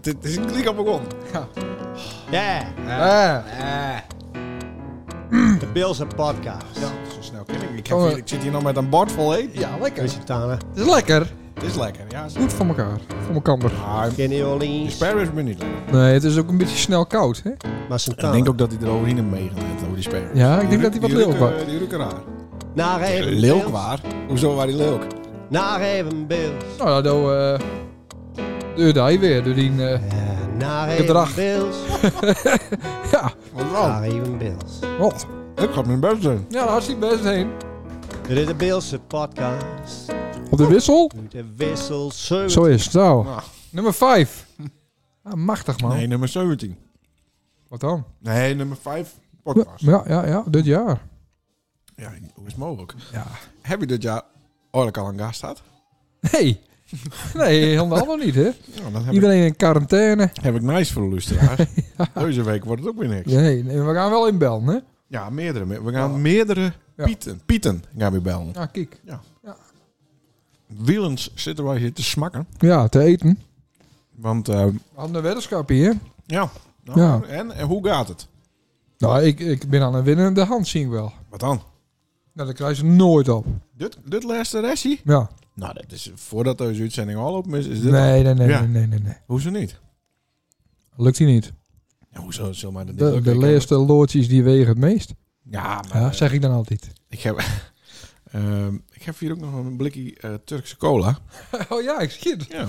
Dit is een klik op mijn kont. Ja, Ah, Uh, de Bilse podcast. Ja, zo snel ken ik. niet. Ik, heb Oh, hier- ik zit hier nog met een bord vol eten. ja, lekker. Kusje Tana. Het is lekker. Het is lekker. Ja, zo. Goed voor elkaar. Voor mijn kamber. Ah, Kenny Orleans. Sparrow is me niet lekker. Nee, het is ook een beetje snel koud, hè? Maar Ik denk ook dat hij er orine mee gaat eten, over die sparrows. Ja, ik Die denk dat ru- hij wat die ruiken- leeuw was. Die ruiken raar. Naar even Leeuw Bills. waar? Hoezo waar die leeuw? Naar even Bills. Nou ja, dan... eh door die weer. Door die... eh, Ja, naar even Gedrag. Bills. ja, Wat Naar dan? even Bills. wat? Ik ga Ah, mijn best doen. Ja, daar had hij best heen. Dit is de Bilse podcast. Op de wissel? Uit de wissel zeven. Zo is het, zo. Nou, Nummer 5. Ah, machtig, man. nee, nummer 17. Wat dan? Oh. Nee, nummer 5. Podcast. Ja, ja, ja. Dit jaar. Ja, hoe is het mogelijk? Ja. Heb je dit jaar Orlik al een gast gehad? Nee. Nee, helemaal nog niet, hè? Ja, dan heb, Iedereen in quarantaine. ik, heb ik nice voor de luisteraars. Deze week wordt het ook weer niks. Nee, nee, we gaan wel inbellen, hè? Ja, meerdere. Me- We gaan meerdere Ja. Pieten. Pieten gaan we bellen. Ja, kijk. Wielens zitten wij hier te smakken. Ja, te eten. Want eh, We hadden een weddenschap hier. ja. Nou, Ja. En, en hoe gaat het? Nou, ik, ik ben aan een winnende hand, zie ik wel. Wat dan? Nou, daar krijg je ze nooit op. Dit, dit laatste restje? Ja. Nou, dat is voordat deze uitzending al op is. is dit Nee, nee, nee, Ja. nee, nee, nee, nee. Hoezo niet? Lukt die niet. Ja, hoezo zal mij dat niet De, lukken? de Ik heb- laatste loodjes die wegen het meest. Ja, maar Ja, eh, zeg ik dan altijd. ik heb... ehm, ik heb hier ook nog een blikje eh, Turkse cola. Oh ja, ik zie het. Ja.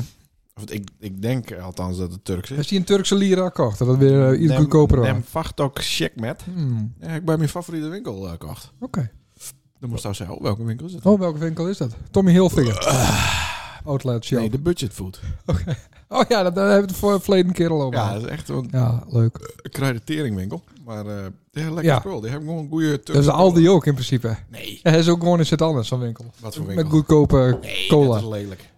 Of ik, ik denk eh, althans dat het Turks is. Als die een Turkse lira kocht, dat het weer eh, iets Nem- goedkoper was. Nem Vachtok Checkmat. Hmm, Ja, ik bij mijn favoriete winkel eh, kocht. Oké. Dan moest nou zeggen, oh, welke winkel is het? Oh, welke winkel is dat? Tommy Hilfiger. Outlet Shop. Ah. nee, de budget food. Oh ja, dat, daar hebben we het voor verleden keer al over. Ja, Ja, dat is echt een ja leuk. kruidenteringwinkel. Maar eh die hebben lekker Ja. Dus spul. Die hebben gewoon een goede Dat is Turkse de Aldi ook in principe. cola. Nee, Hij is ook gewoon in Sint-Anders, zo'n winkel. wat voor Met winkel? goedkope Nee, cola. dat is lelijk.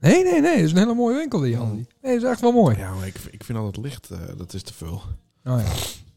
Nee, nee, nee. Het is een hele mooie winkel, die Aldi. Nee, het is echt wel mooi. Hmm. Ja, maar ik, ik vind al het licht, eh, dat is te veel. Nou, ja. Het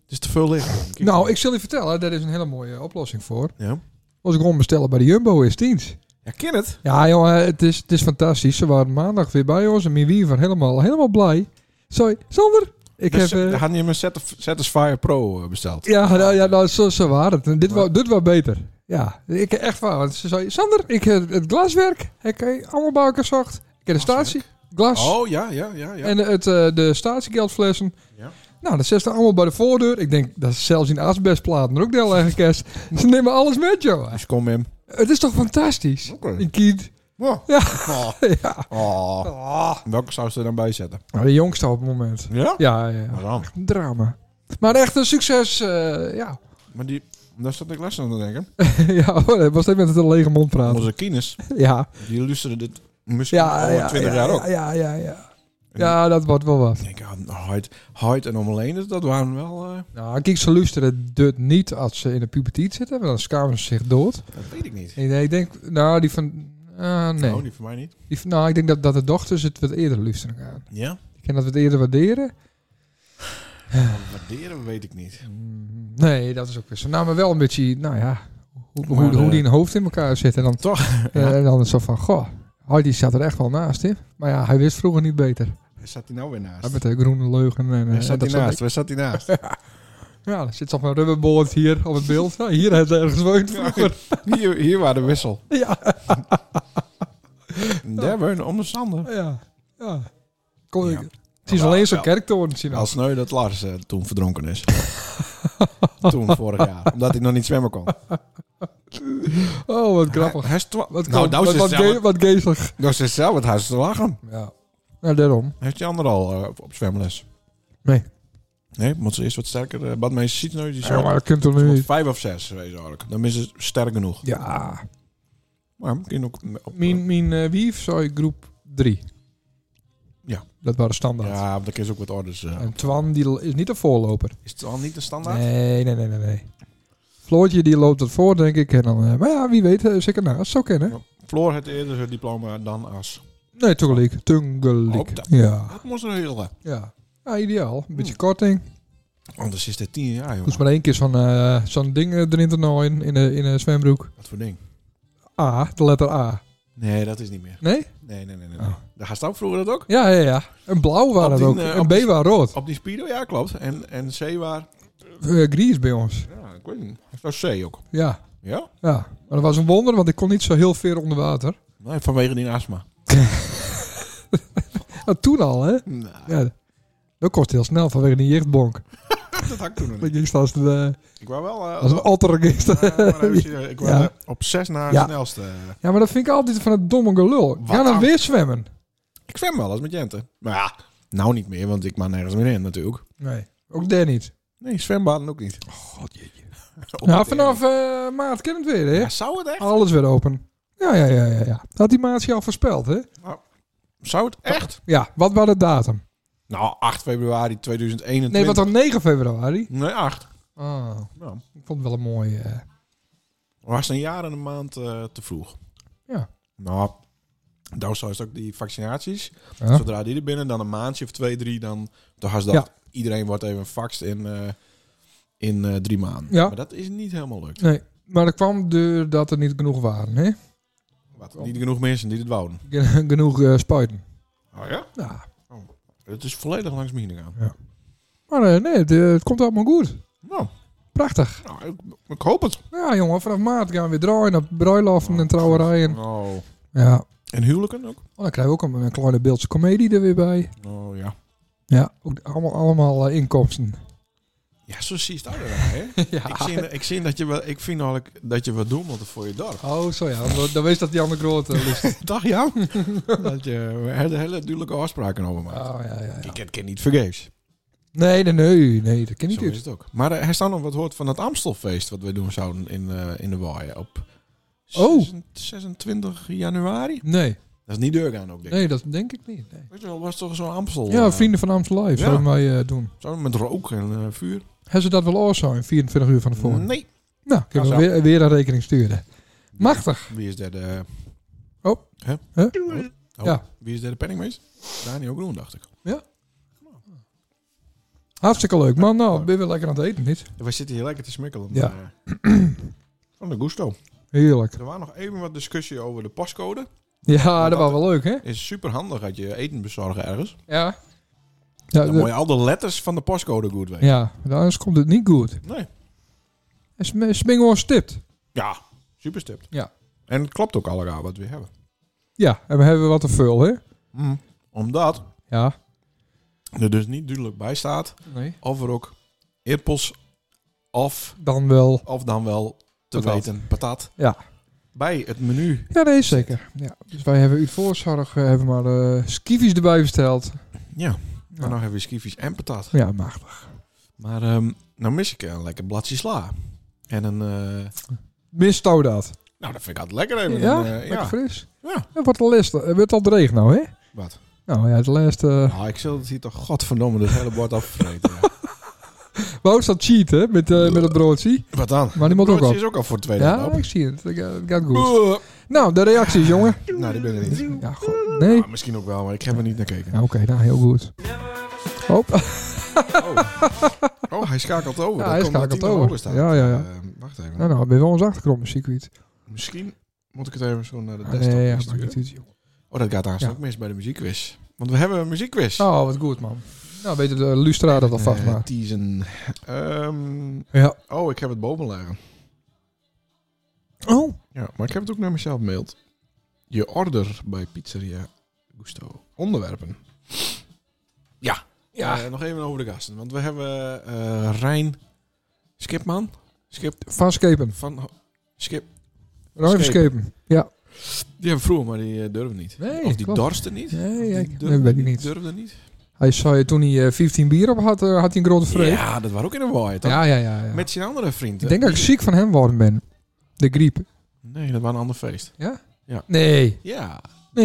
is te veel licht. Kijk. nou, ik zal je vertellen, daar is een hele mooie oplossing voor. Ja, Als ik gewoon bestellen bij de Jumbo is het dienst. ja ken het? Ja, jongen, het is, het is fantastisch. Ze waren maandag weer bij ons en mijn wiever helemaal, helemaal blij. Sorry, Sander, ik Dus, heb... eh, Daar hadden je mijn Satis- Satisfyer Pro eh, besteld. ja, nou, ja nou, zo, zo waren het. En Dit, Maar- was, dit was beter. Ja, ik echt waar. Want ze zei, Sander, ik heb het glaswerk. Ik heb allemaal bij elkaar gezocht. Ik heb de statie, glas. Oh, ja, ja, ja. ja. En het, eh, de statiegeldflessen. Ja. Nou, dat zet ze allemaal bij de voordeur. Ik denk, dat is zelfs in asbestplaten er ook deel eigen kerst. ze nemen alles met, joh. Dus kom hem. Het is toch fantastisch? Oké. Een kiet. Oh. Ja. Oh. Ja. Oh. Welke zou ze er dan bij zetten? Nou, de jongste op het moment. Ja? Ja, ja, ja. Maar dan. Een drama. Maar echt een succes, eh, ja. Maar die, daar zat ik les aan te denken. ja, hoor, het was net met een lege mond praten. Onze kines, Ja. die luisteren dit misschien Ja, over ja, 20 ja, jaar ook. ja, ja, ja, ja. Ja, dat wordt wel wat. Ik denk, ah, Hyde, Hyde en Ommelene, dat waren wel... eh, Nou, kijk, ze luisteren dut niet als ze in de puberteit zitten, want dan schamen ze zich dood. dat weet ik niet. Ik, ik denk, nou, die van... ah, nee. Oh, die voor mij niet. Die van- nou, ik denk dat, dat de dochters het wat eerder luisteren gaan. Ja? Ik ken dat we het eerder waarderen. Waarderen weet ik niet. Mm, Nee, dat is ook weer zo. Nou, maar wel een beetje, nou ja, hoe, hoe, Maar, hoe eh, die in hoofd in elkaar zit. En dan, Toch, eh, en dan zo van, goh, Hardy zat er echt wel naast, hè? Maar ja, hij wist vroeger niet beter. Waar zat hij nou weer naast? Hij met de groene leugen en, eh, Waar en zat dat hij soort naast? Waar zat hij naast? dingen. Ja, dan zit zo'n rubberboord hier op het beeld. Ja, hier heeft hij ergens gewoond vroeger. hier, hier waren de wissel. Ja, En Daar waren de omstandigheden. ja, ja. Kom, Ja. ik- Het is alleen zo'n kerktoren zien Als als. sneu dat Lars eh, toen verdronken is. toen, vorig jaar. Omdat hij nog niet zwemmen kon. Oh, wat grappig. Hij, hij is twa- Wat, nou, nou wat, is wat, het ge zelf- wat geestig. nou is het zelf het huis te lachen. Ja, nou, daarom. Heeft die ander al eh, op, op zwemles? Nee. Nee, moet ze eerst wat sterker. eh, Wat mensen ziet nu, die Ja, maar zo. dat kunt toch nu moet niet. vijf of zes wezen eigenlijk. Dan is ze sterk genoeg. Ja. Maar we kunnen ook op, op- Mijn, mijn eh, wief zou ik groep 3. Ja. Dat waren standaard. Ja, want dan kun je ook wat orders. eh. En Twan die l- is niet een voorloper. Is het al niet de standaard? Nee, nee, nee, nee. nee. Floortje die loopt dat voor, denk ik. En dan, eh, maar ja, wie weet, eh, zeker naast zou kennen. Floor had eerder zijn diploma dan as. Nee, Tungelijk. Tungelijk. Op dat- Hmm. Ja, Dat moest er heel ja. Ja, ideaal. Een beetje korting. Anders is dit tien jaar, Hoeft jongen. maar één keer zo'n eh, zo'n ding eh, erin te naaien in een in een zwembroek. Wat voor ding? A, de letter A. Nee, dat is niet meer. Nee? Nee, nee, nee. nee. Oh. Daar had ook vroeger dat ook. Ja, ja, ja. Een blauw waren Op het die, ook. eh, een op B die- waren rood. Op die Speedo, ja, klopt. En, en C waar... Eh, Gries bij ons. Ja, ik weet niet. Dat is C ook. Ja. Ja? ja. Maar dat was een wonder, want ik kon niet zo heel ver onder water. Nee, vanwege die astma. Nou, toen al, hè? Ja. Dat kost heel snel vanwege die jichtbonk. dat had ik toen nog Dat niet. je als, een, eh, Ik wou wel... eh, als een eh, otterregister. maar eventjes, eh, ik wou Ja. eh, op zes na Ja. het snelste. Ja, maar dat vind ik altijd van het domme gelul. Wat Ga dan dan? weer zwemmen. Ik zwem wel eens met Jente. Maar ja, nou niet meer, want ik mag nergens meer in natuurlijk. Nee, ook daar niet. Nee, zwembaden ook niet. God, jeetje. Op Nou, het vanaf eh, maart kan het weer, hè? Ja, zou het echt? Alles weer open. Ja, ja, ja, ja. ja. Dat had die maatje al voorspeld, hè? Zou het echt? Ja, wat was de datum? Nou, 8 februari 2021. Nee, wat dan 9 februari? Nee, 8. Oh, Nou, ik vond het wel een mooie... eh, was een jaar en een maand eh, te vroeg. Ja. Nou, daar zou het ook die vaccinaties. ja. Zodra die er binnen, dan een maandje of twee, drie, dan, dan had je dat. Iedereen wordt even vaxt in, eh, in eh, drie maanden. Ja. Maar dat is niet helemaal lukt. Nee, maar dat kwam doordat er niet genoeg waren, hè? Wat, niet genoeg mensen die dit wouden. Gen- Genoeg eh, spuiten. Oh ja? Ja. Het is volledig langs me heen gegaan. Maar eh, nee, de- het komt allemaal goed. Nou, Prachtig. nou, ik, ik hoop het. Ja, jongen, vanaf maart gaan we weer draaien naar bruiloften en trouwerijen. Oh. Ja, En huwelijken ook? Oh, dan krijgen we ook een, een kleine beeldse komedie er weer bij. Oh ja. Ja, ook allemaal, allemaal eh, inkomsten. Ja, zo zie je het ook. hè? ja. Ik zie, ik zie dat je wel, ik vind eigenlijk dat je wat doen moet voor je dorp. Oh, zo ja. Dan- Dan wees dat die andere grote lust. Dag Jan. dat je hele, hele duidelijke afspraken over maakt. Oh, ja, ja, ja. Ah, Ik ken, ken niet vergeefs. Nee, nee, nee, nee, dat ken ik Zo is niet. het ook. Maar eh, hij staat nog wat hoort van het Amstelfeest wat wij doen zouden in, eh, in de Waaien op Oh. 26 26 januari. Nee, Dat is niet deurgaan ook, denk ik. nee, dat denk ik niet. nee. Weet je wel, was toch zo'n Amstel? Ja, eh, vrienden van Amstel ja. Live zouden wij eh, doen. Zo met rook en eh, vuur. Hebben ze dat wel oor zo in 24 uur van tevoren? Nee. Nou, kunnen we Nou, zo. weer, weer een rekening sturen. Machtig. Wie is daar de... Oh. Hè? Hè? Oh. Oh. Ja. Wie is daar de penningmeester? Daniel Groen, dacht ik. Hartstikke leuk. Man, nou, ben je weer lekker aan het eten, niet? We zitten hier lekker te smikkelen. Ja. maar, eh, Van de gusto. Heerlijk. Er was nog even wat discussie over de postcode. Ja, dat was wel leuk, hè? Is super handig dat je eten bezorgen ergens. Ja. Dan Ja, de- moet je al de letters van de postcode goed weten. ja, want anders komt het niet goed. Nee. En sm- Smingel stipt. Ja, super stipt. Ja. En het klopt ook allemaal wat we hebben. Mm. Ja, en we hebben wat te veel, hè? Omdat Ja. er dus niet duidelijk bij staat Nee. of er ook eerpels of, Dan wel. of dan wel te Patat. weten patat Ja. bij het menu. Ja, nee, zeker. Ja. Dus wij hebben uit voorzorg eh, hebben maar eh skiffies erbij besteld. Ja, Ja. maar nog even skiffies en patat. Ja, machtig. Maar ehm, nou mis ik een lekker bladje sla. En een... eh, Mistouw dat. nou, dat vind ik altijd lekker even. Ja, Een, eh, lekker fris. Ja. En wat de laatste. Het wordt al dreig nou, hè? Wat? Nou ja, het laatste. eh, Nou, ik zal het hier toch godverdomme dit hele bord afvreten. ja. Wou staat cheat, hè? Met, eh, met het broodje. Wat dan? Maar die moet ook Broodje op. is ook al voor het tweede Ja, op. ik zie het. Het gaat- het gaat goed. Buh. Nou, de reacties, jongen. Nou, die ben ik niet. Ja, goed. Nee. Ah, misschien ook wel, maar ik heb er niet naar gekeken. Ja, Oké, nou, heel goed. Hop. Oh. Oh, hij schakelt over. Ja, Dat hij komt omdat schakelt hij nog over. hoger staat. Ja, ja, ja. Eh, wacht even. Nou, nou, ben je wel ons achtergrondmuziek kwijt. Misschien moet ik het even zo naar de desktop Nee, Ah, ja, maakt sturen. niet uit, joh. Oh, dat gaat aanstaan Ja. ook mis bij de muziekquiz. Want we hebben een muziekquiz. Oh, wat goed, man. Nou, beter de Lustra dat alvast Eh, maar. teasen. Ehm, Ja. oh, ik heb het boven liggen. Oh. Ja, maar ik heb het ook naar mezelf gemaild. Je order bij Pizzeria Gusto. Onderwerpen. Ja. Eh, nog even over de gasten. Want we hebben eh, Rijn Skipman. Skip Van Skepen. van... Skip. Ruim Skepen. Ja. Die hebben we vroeger, maar die eh, durven niet. Nee, of die klopt. dorsten niet. Nee, Of die ja, ik- nee, durfden weet ik niet. Durfden niet. Hij zei toen hij eh, 15 bier op had, eh, had hij een grote vrees. Ja, dat was ook in een waaier, toch? Ja, ja, ja. ja. Met zijn andere vrienden. Ik denk dat ik ziek van hem geworden ben. De griep. Nee, dat was een ander feest. Nee. Ja. Nee, nee,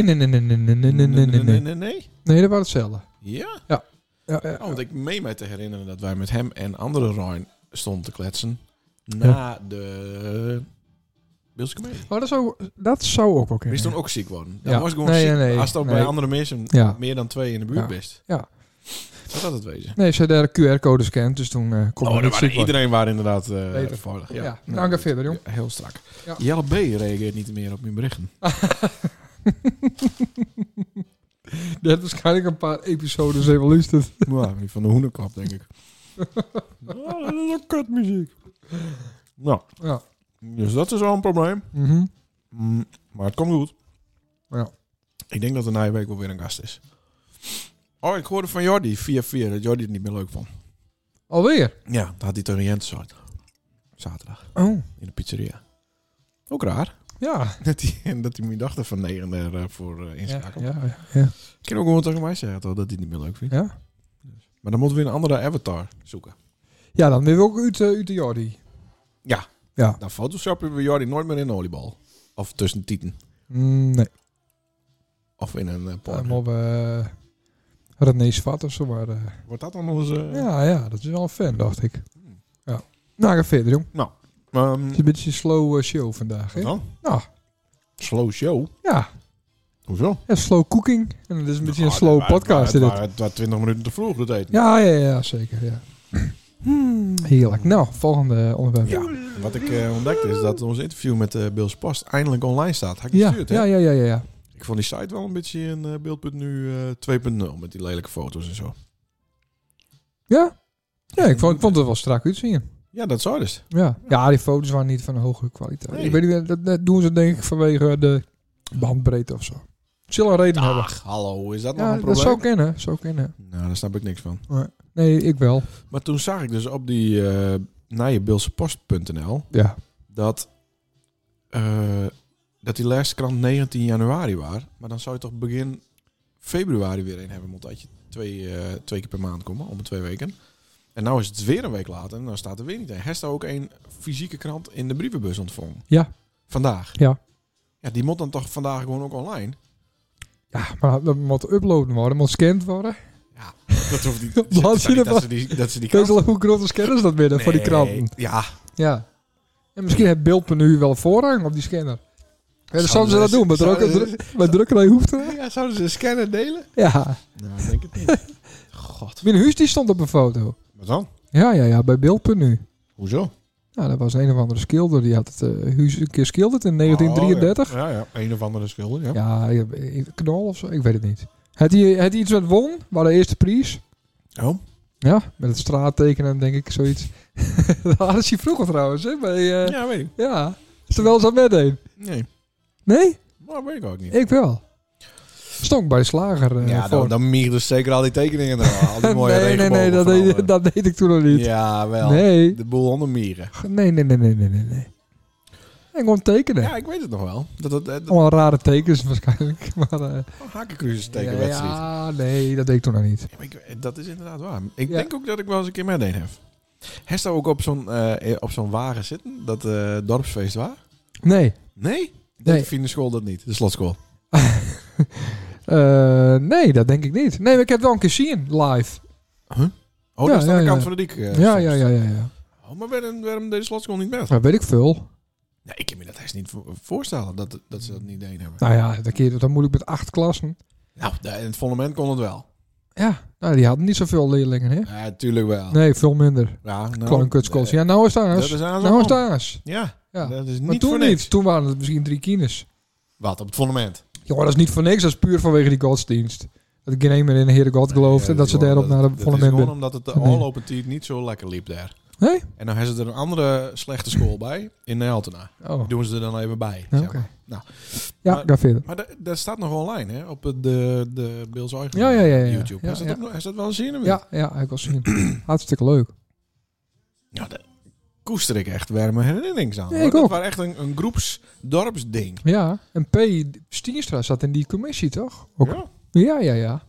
nee, nee, nee, nee, nee, nee, nee, nee. nee, Nee, nee, nee. nee dat was hetzelfde. Ja. Ja, eh, ja. Oh, want ik meen mij te herinneren dat wij met hem en andere Rijn stonden te kletsen. Na de... Beeldse Comedie. Maar oh, dat zou, dat zou ook wel Die is kunnen. toen ook ziek worden. Dat Ja. was gewoon Nee, ziek. nee, nee. Als dat Nee. bij andere mensen Ja. meer dan twee in de buurt Ja. bent. Ja. Zou dat het wezen? Nee, ze hadden QR-code scan, dus toen eh kon Oh, hij dan niet waren- ziek worden. iedereen waren inderdaad eh Beter. veilig. Ja, Ja, Nou, dank je goed. verder, jong. Ja, heel strak. Ja. Jelle B. reageert niet meer op mijn berichten. Je hebt waarschijnlijk een paar episodes even luisterd. Ja, die van de hoenenklap, denk ik. Ja, dat is ook kutmuziek. Nou, Ja. dus dat is wel een probleem. Mhm. Mm, maar het komt goed. Ja. Ik denk dat er na je week wel weer een gast is. Oh, ik hoorde van Jordi via via dat Jordi het niet meer leuk vond. Alweer? Ja, dat had hij tegen Jens gezegd. Zaterdag, Oh. in de pizzeria. Ook raar. Ja. Dat hij, dat hij mijn dochter van negen er eh, voor eh Ja, inschakelt. ja, ja. Ik kan ook gewoon tegen mij zeggen toch, dat hij het niet meer leuk vindt. Ja, Maar dan moeten we een andere avatar zoeken. ja dan ben je ook uit, eh, uit de Jordi. Dan photoshoppen we Jordi nooit meer in een oliebal. Of tussen tieten. Mm, nee. Of in een eh, porno. Helemaal eh René Svat of zo. Maar, eh, Wordt dat dan onze... ja, ja, dat is wel een fan, dacht ik. Hmm. Ja. Nou, ga verder, jong. Ehm, Het is een beetje een slow eh, show vandaag. wat Hè? dan? Nou, Slow show? ja. Hoezo? ja, slow cooking. En het is een beetje een Nou, slow het wa- podcast. Het dit. waren het was 20 minuten te vroeg, dat deed Ja, ja, ja, zeker. Ja. Heerlijk. Nou, volgende onderwerp. Ja, wat ik eh, ontdekte is dat ons interview met eh Bils Post eindelijk online staat. Had ik Ja, gestuurd, hè? ja, ja, ja, ja, ja. Ik vond die site wel een beetje een eh, beeld.nu eh 2.0 met die lelijke foto's en zo. Ja, ja ik, vond, ik vond het wel strak uitzien. Ja, dat zou dus. Ja. ja, die foto's waren niet van een hoge kwaliteit. Nee. Ik weet niet, eh, dat, dat doen ze denk ik vanwege de bandbreedte of zo. Het zal een reden hebben. Ach, hallo, is dat nog Ja, een dat probleem? zou kennen, zou kennen. Nou, daar snap ik niks van. Nee, ik wel. Maar toen zag ik dus op die eh nijebilsepost.nl Ja. dat, eh, dat die laatste krant 19 januari was. Maar dan zou je toch begin februari weer een hebben, omdat je twee, eh, twee keer per maand komen, om de twee weken. En nou is het weer een week later en dan staat er weer niet een. Hesta ook een fysieke krant in de brievenbus ontvangen. Ja. Vandaag. Ja. Ja, die moet dan toch vandaag gewoon ook online? Ja, maar dat moet uploaden worden, moet scanned worden. Ja, dat hoeft niet. Laat dat, zien dat, ervan. ze die, dat ze die Kijk krant- wel hoe grote scanners dat binnen voor die Nee, kranten. Ja, Ja. En misschien heeft beeld nu wel voorrang op die scanner. Ja, dan zouden ze dus- dat doen, maar zouden drukken, maar drukkerij hoeft er. Ja, zouden ze een scanner delen? Ja. Nou, ik denk het niet. God. Mijn huis die stond op een foto. Wat dan? Ja, ja, ja, bij beeld.nu. Hoezo? Nou, dat was een of andere schilder. Die had het eh huis een keer schilderd in 1933. Oh, ja. ja, ja. Een of andere schilder, ja. ja, ik- ik- knol of zo, ik weet het niet. Had hij, had hij iets met won? Waar de eerste prijs? Oh, Ja, met het straattekenen, denk ik, zoiets. dat hadden ze vroeger trouwens, hè? Bij, eh, ja. ja, weet ik. Is er wel eens aan met een? Nee, Nee? maar weet ik ook niet. Ik wel. Stonk bij de slager. eh, ja, voor. dan, dan mierden ze zeker al die tekeningen er al. al die mooie nee, nee, nee, dat regenbogen van deed, alle- dat deed ik toen nog niet. Ja, wel. nee. De boel onder mieren. nee, nee, nee, nee, nee, nee, nee. En gewoon tekenen. Ja, ik weet het nog wel. Dat, dat, dat, Allemaal rare tekens waarschijnlijk. Maar, eh, Hakenkruis ja, tekenwedstrijd. Ja, ja, nee, dat deed ik toen nog niet. maar ik- dat is inderdaad waar. Ik Ja. denk ook dat ik wel eens een keer meteen heb. Heeft daar ook op zo'n eh, op zo'n wagen zitten? Dat eh, dorpsfeest waar? Nee. Nee? Nee. Ik vind de school dat niet. De slotschool. Eh, nee, dat denk ik niet. Nee, maar ik heb het wel een keer zien, live. Oh, Ja, dat is aan ja, de kant ja. van de dik. eh, ja, soms. ja, ja, ja, ja. Oh, maar waarom, waarom deed de slotschool niet met? Dat weet ik veel. Nou, ik kan me dat eens niet vo- voorstellen dat, dat ze dat niet deden hebben. Nou ja, dan, keer, dan moet ik met acht klassen. Nou, de- in het fundament kon het wel. Ja, nou, die hadden niet zoveel leerlingen, hè? Ja, tuurlijk wel. Nee, veel minder. Ja, nou, Klein kutskools. Ja, nou is het eh, anders. Dat is aan Nou is zo'n het anders. Ja, Ja. dat is Maar niet voor toen niks. niet. Toen waren het misschien drie kines. Wat, op het fundament? Jongen, dat is niet voor niks. Dat is puur vanwege die godsdienst. Dat ik geen een meer in de Heere God geloofde. en dat ze daarop naar de volle volle ben. is gewoon omdat het de Nee. all-open tijd niet zo lekker liep daar. Nee? En dan hebben ze er een andere slechte school bij, in Neltena. Oh, Doen ze er dan even bij. oké. zeg maar. Nou. ja, Maar- ga verder. Maar da- dat staat nog online, hè? Op het- de, de Bills Eigen Ja, ja, ja, ja. YouTube. Ja, is, dat ja. ook nog- is dat wel een zin? Ja, ja, ik was zien. Hartstikke leuk. Ja, dat koester ik echt weer mijn herinneringen aan. Ja, hoor. ik dat ook. was echt een, een groeps dorpsding. Ja, en P. Stienstra zat in die commissie, toch? Ook- Ja, Ja, ja, ja.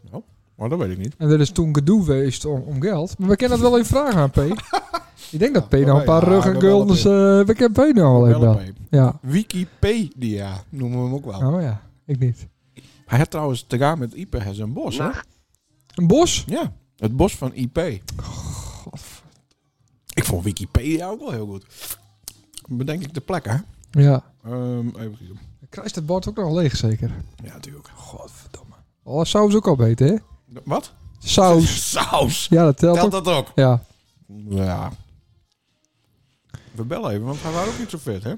maar dat weet ik niet. En er is toen gedoe geweest om, om geld. Maar we kennen dat wel even vragen aan P. Ik denk dat P Ja, nou een paar ja, rug we en bellen guldens... eh, we kennen P nou wel even wel. LP. Ja. Wikipedia noemen we hem ook wel. Oh ja, ik niet. Hij had trouwens te gaan met Ipe en zijn bos, hè? Een bos? Ja, het bos van IP. Ik vond Wikipedia ook wel heel goed. Bedenk ik de plek, hè? Ja. Ehm, even kijken. Krijgt het bord ook nog leeg, zeker? ja, natuurlijk. Godverdomme. Oh, saus ook al beter, hè? Wat? Saus. Saus! Ja, dat telt Telt ook. dat ook? Ja. Ja. We bellen even, want hij was ook niet zo fit, hè?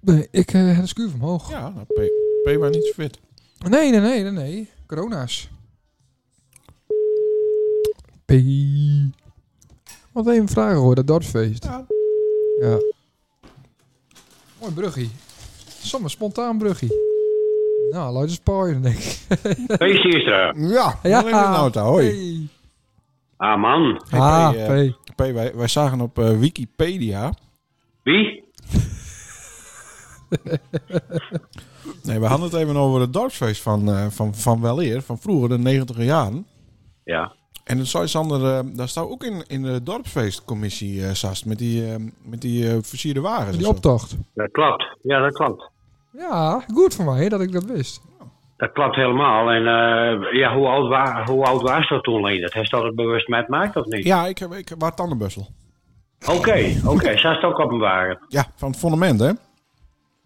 Nee, ik eh heb een schuif omhoog. Ja, nou, P, P was niet zo fit. Nee, nee, nee, nee, nee. Corona's. P. Wat even vragen hoor, dat dorpsfeest. Ja. Ja. Mooi bruggie. Sommige spontaan bruggie. Nou, luid eens paaien, denk ik. Hey Sierstra. Ja, Ja. dan even een auto. nou, Hoi. Ah man. Hey, ah, P, P. eh, P, wij, wij zagen op eh, Wikipedia. Wie? Nee, we hadden het even over het dorpsfeest van, eh, van, van weleer, van vroeger, de 90 jaren. Ja. En dat zei Sander, eh, daar staat ook in, in de dorpsfeestcommissie, eh, Sast, met die, eh, met die eh, versierde wagens. en Die zo. optocht. Dat klopt. Ja, dat klopt. Ja, goed voor mij dat ik dat wist. Dat klopt helemaal. En eh, ja, hoe, oud wa- hoe oud was dat toen, Leen? Dat heeft dat het bewust met maakt of niet? Ja, ik, heb, ik waar tandenbussel. Oké, oké. Ze had het ook op een wagen. Ja, van het fondament, hè?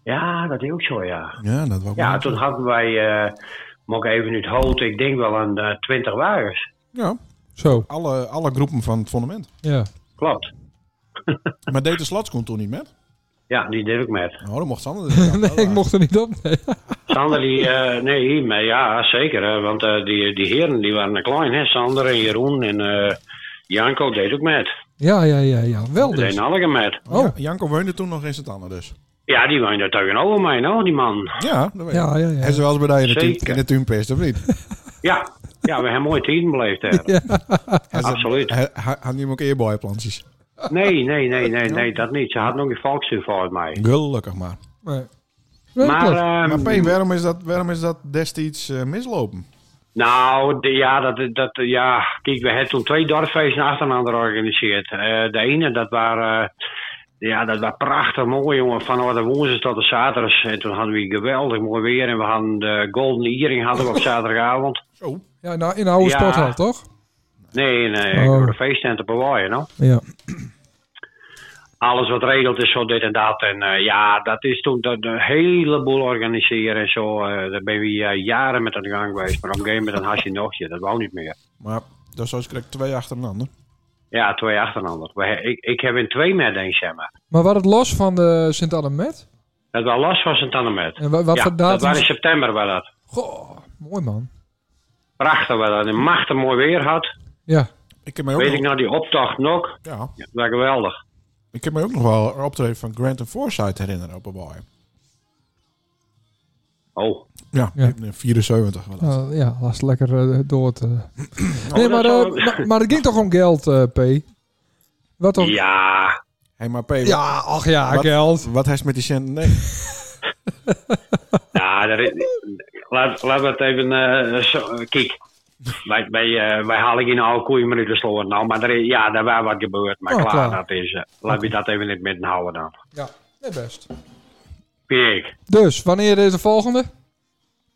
Ja, dat is ook zo, ja. Ja, dat was Ja, toen hadden wij, eh moet ik even nu het hout, ik denk wel aan eh, 20 wagens. ja Zo, alle, alle groepen van het fondament. ja. Klopt. Maar deed de slotskoen toen niet met? Ja, die deed ik met. Nou, dat mocht Sander. dus wel. Nee, ik mocht er niet op. Nee. Sander, die, eh, nee, maar ja, zeker. hè, want eh, die, die heren die waren klein, hè? Sander en Jeroen en eh, Janko deed ook met. Ja, ja, ja, ja. Wel Ze dus. deden allemaal met. Oh. Oh. Ja, Janko woonde toen nog in sint Anne dus. Ja, die woonde tegenover mij, nou, die man. Ja, dat weet ik. Ja, ja, En ja. zoals bij jou in de, tuin- Zeker. in de tuinpist, of niet? Ja, ja we hebben mooi tien beleefd daar. Absoluut. Hij- hij- Had hij hem ook eerboyplantjes? Nee, nee, nee, nee, nee, dat niet. Ze had nog een volksstuur volgens mij. Gelukkig maar. Maar, Maar, Maar ehm, P, waarom is dat, waarom is dat destijds eh, mislopen? nou, de- ja, dat, dat, ja, kijk, we hebben toen twee dorpsfeesten achteraan georganiseerd. Eh, de ene, dat waren... eh, ja, dat was prachtig mooi, jongen. Van de woensdag tot de zaterdag. En toen hadden we geweldig mooi weer. En we hadden de Golden Earring hadden we op zaterdagavond. Zo. ja, nou, in de oude Ja. sporthal, toch? Nee, nee, Oh. door de feesttent op Hawaii, nou. Ja. alles wat regelt is zo dit en dat. En eh, ja, dat is toen dat, een heleboel organiseren en zo. eh, daar ben je eh, jaren met aan de gang geweest. Maar op een gegeven moment dan had je nog je, dat wou niet meer. Maar dat is zoals ik twee achtereinander. Ja, twee achtereinander. We, he- ik, ik heb in twee met denk zeg maar. Maar wat het los van de sint anne met? Dat was last van zijn tanden met. En wa- wat ja, voor dat was in datum? september was dat. Goh, mooi man. Prachtig was dat. En machtig mooi weer had. Ja. Ik heb mij ook, Weet nog, ik nou, die optocht nog. ja, Ja, dat was geweldig. ik heb mij ook nog wel een optreden van Grant en Forsyth herinneren op een boy. Oh, Ja, Ja. in 74 wel. Nou, ja, laat het lekker eh, door te... nee, Oh, dat maar, zou- eh, maar, maar het ging toch om geld, eh, P? Wat om... ja. Hey, maar P, Ja, ach ja, Wat? geld. wat heeft met die centen? Nee. Ja, Nou, dat is, laat, laat het even. eh, zo, kijk, wij, wij, eh, wij halen geen oude koeien meer uit de sloot. Nou, maar er, is- ja, daar waar wat gebeurd. Maar Oh, klaar, klaar. dat is. eh, laat je dat even in het midden houden dan. Ja, nee, best. Kijk. Dus, wanneer is de volgende?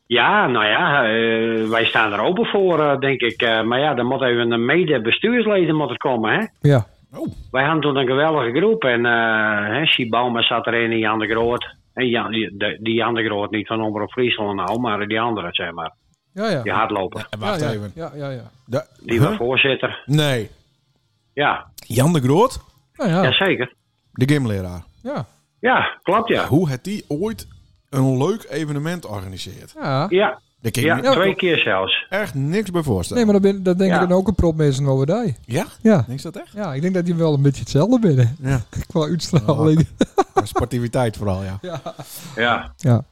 Ja, nou ja, eh, wij staan er open voor, eh, denk ik. Eh, maar ja, dan moet even een mede-bestuursleden moet het komen, hè? Ja. Oh, Wij hadden toen een geweldige groep. En eh hè, Siboma zat erin en Jan de Groot. En Jan, die, de- die Jan de Groot, niet van Omroep Friesland nou, maar die andere, zeg maar. Ja, ja. Die hardloper. en wacht ja, ja. even. Ja, ja, ja. Da- Die was Huh? voorzitter. Nee. Ja, Jan de Groot, Nou ja, ja. jazeker. de gymleraar. Ja. Ja, klopt ja. Hoe had die ooit een leuk evenement organiseerd? Ja, Daar kan ik ja me twee keer zelfs. echt niks bij voorstellen. Nee, maar dat, ben, dat denk Ja. ik dan ook een prop mensen over die. Ja? Ja. Denk je dat echt? Ja, ik denk dat die wel een beetje hetzelfde binnen. Ja. Qua uitstraling. Maar sportiviteit vooral, ja. Ja. Ja.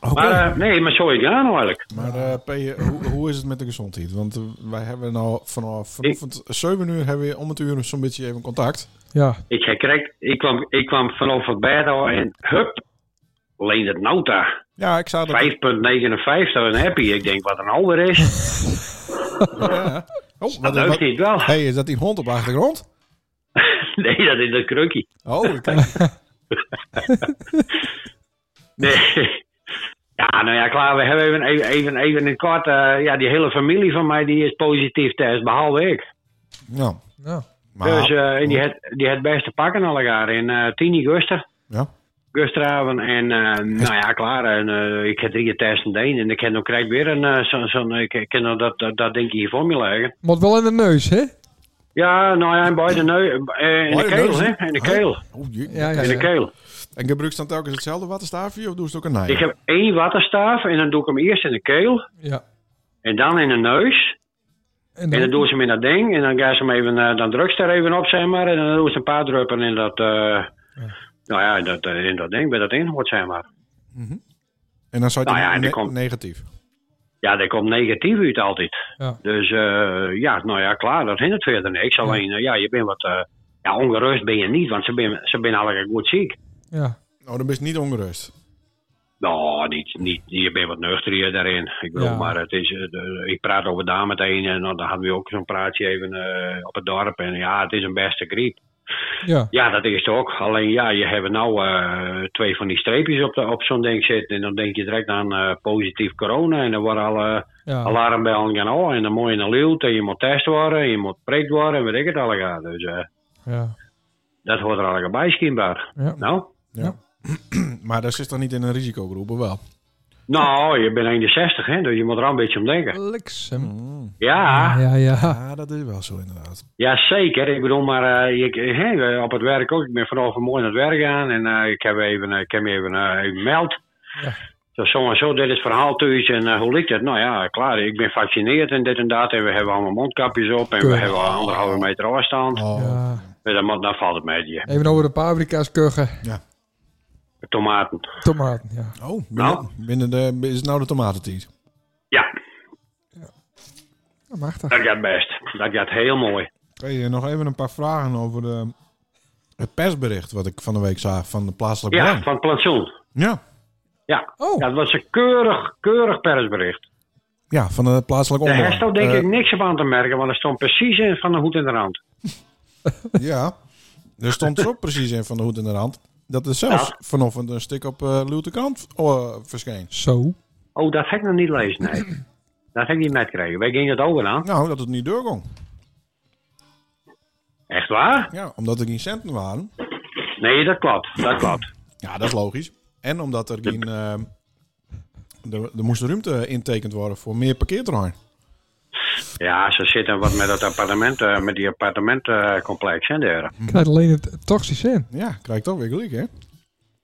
Oké. Maar eh, nee, maar zo is het gedaan eigenlijk. Maar eh, P, eh, hoe, hoe is het met de gezondheid? Want eh, wij hebben nou vanaf vanochtend 7 uur hebben we om het uur zo'n beetje even contact. Ja. Ik, zei, correct, ik, kwam, ik kwam vanaf het bed al en hup, leent het nou Nauta. Ja, ik zou 5,59 dat... en happy. Ik denk wat een alweer is. Ja. Oh, Dat wat, deugt wat, niet wel. hey, is dat die hond op de achtergrond? Nee, dat is een krukkie. Oh, kijk. Nee. Ja, nou ja, klaar. We hebben even, even, even, even in het kort. eh, ja, die hele familie van mij die is positief test, behalve ik. Nou, Nou. Dus maar... eh, en die had, die had best te pakken al elkaar. In eh 10 augustus. Ja. Gustraven en eh, nou ja, klaar. En, eh, ik heb drie testen deen en ik heb nog krijg weer een eh, zo'n, zo'n, ik, ik heb nog dat, dat, dat ding hier voor me leggen. Moet wel in de neus, hè? Ja, nou ja, en bij de neu, eh, in Bij de de keel, neus, hè? hè? In de keel. Oh, jee. Ja, ja. In de keel. En gebruik je dan telkens hetzelfde wattenstaafje of doe ze het ook een Ik naai? heb één wattenstaaf en dan doe ik hem eerst in de keel. Ja. En dan in de neus. En dan doen ze hem in dat ding. En dan, gaan ze hem even, eh, dan druk ze er even op, zeg maar. En dan doen ze een paar druppen in dat... eh, Nou ja, in dat, eh, in dat ding, bij dat inhoort, zeg maar. En dan zou je Nou ja, het en dan ne- komt- negatief. Ja, daar komt negatief uit altijd. Ja. Dus eh, ja, nou ja, klaar, dat hindert verder niks. Alleen, eh, ja, je bent wat... eh, ja, ongerust ben je niet, want ze zijn ze ben allemaal goed ziek. Ja. Nou, dan ben je niet ongerust. Nou, niet, niet, je bent wat nuchterier daarin. Ik bedoel, Ja. maar het is, eh, de- ik praat over daar meteen en dan hadden we ook zo'n praatje even eh, op het dorp. En ja, het is een beste griep. Ja. Ja, dat is het ook. Alleen ja, je hebt nou eh, twee van die streepjes op, de- op zo'n ding zitten. En dan denk je direct aan eh, positief corona. En dan worden alle Ja. alarmbellen gaan al. En dan moet je naar Liel. En je moet test worden. en Je moet prikt worden. En weet ik het allemaal. Dus eh, Ja. dat hoort er allemaal bij, schijnbaar. Ja. Nou? Ja. maar dat zit dan niet in een risicogroep, of wel? Nou, je bent 61, hè, dus je moet er al een beetje om denken. Bliksem. Ja. Ja, ja, ja. Ja, Ah, dat is wel zo inderdaad. Ja, zeker. Ik bedoel, maar eh, ik, hè, op het werk ook. Ik ben vanochtend mooi naar het werk aan en eh, ik heb even, eh, ik heb me even, eh, even meld. Ja. Zo, zo en zo, dit is het verhaal thuis en eh, hoe ligt het? Nou ja, klaar, ik ben gevaccineerd en dit en dat. En we hebben allemaal mondkapjes op en we Keurig. hebben anderhalve meter afstand. Oh, Ja. Eh. En dan, moet- dan valt het met je. Even over de paprika's kuggen. Tomaten. Tomaten, ja. oh Nou. binnen, binnen de, is het nou de tomatentiet? Ja, Dat mag toch? dat gaat best. Dat gaat heel mooi. Hey, eh, nog even een paar vragen over de, het persbericht wat ik van de week zag van de plaatselijke Ja, belang. van het plantsoen. Ja, Ja. Oh. ja, dat was een keurig, keurig persbericht. ja, van de Oh, plaatselijke Daar omroep. heeft ook denk Eh, ik niks op aan te merken, want er stond precies in van de hoed in de rand. Ja, er stond zo precies in van de hoed in de hand dat er zelfs Ja. vanochtend een stuk op eh Luwte Krant eh, verscheen. Zo. Oh, dat heb ik nog niet lezen, nee. Dat heb ik niet metgekregen. Wij gingen het over aan. Nou, dat het niet doorging. Echt waar? Ja, omdat er geen centen waren. Nee, dat klopt. Dat klopt. Ja, dat is logisch. En omdat er geen... eh, er, er moest ruimte intekend worden voor meer parkeerterrein. Ja, ze zitten wat met dat appartement, eh, met die appartementcomplex, hè, daar. Ik krijg alleen het toxisch in. Ja, krijg ik toch weer gelijk, hè?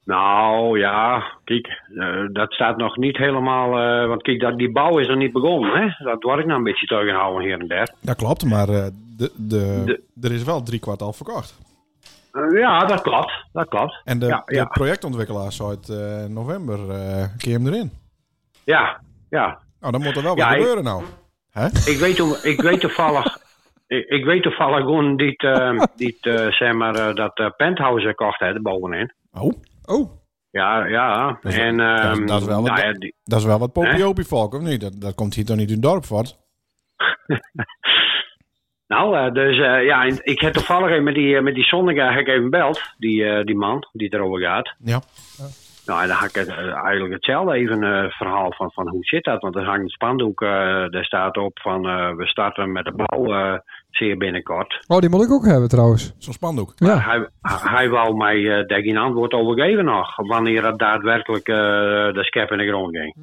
Nou, ja, kijk, eh, dat staat nog niet helemaal... eh, want kijk, dat, die bouw is nog niet begonnen, hè. Dat word ik nou een beetje tegenhouden hier en daar. Dat klopt, maar eh, de, de, De- er is wel drie kwart al verkocht. Eh, ja, dat klopt. Dat klopt. En de, ja, ja. de projectontwikkelaar zou het eh, november eh keer hem erin. ja, ja. Nou, dan moet er wel wat Ja, ik- gebeuren nou. Hè? Ik weet, hoe- ik weet toevallig... Ik, ik weet toevallig gewoon die, eh, die eh, zeg maar, eh, dat eh, penthouse gekocht heeft, bovenin. Oh, Oh. Ja, ja. Dat is- en, dat is- ehm, dat is wel nou een- ja, die- dat is wel wat Hè? popiopie volk, of niet? Dat, dat komt hier toch niet in het dorp voor? nou, eh, dus eh, ja, en ik heb toevallig even met die, eh, met die Sonnega heb ik even belt, die, eh, die man die erover gaat. Ja. Nou, en dan had ik het, eh, eigenlijk hetzelfde even eh, verhaal van, van hoe zit dat? Want er hangt een spandoek, eh daar staat op van eh, we starten met de bouw eh, zeer binnenkort. Oh, die moet ik ook hebben trouwens. Zo'n spandoek. Ja. Hij, hij wou mij eh daar geen antwoord over geven nog, wanneer het daadwerkelijk eh, de schep in de grond ging.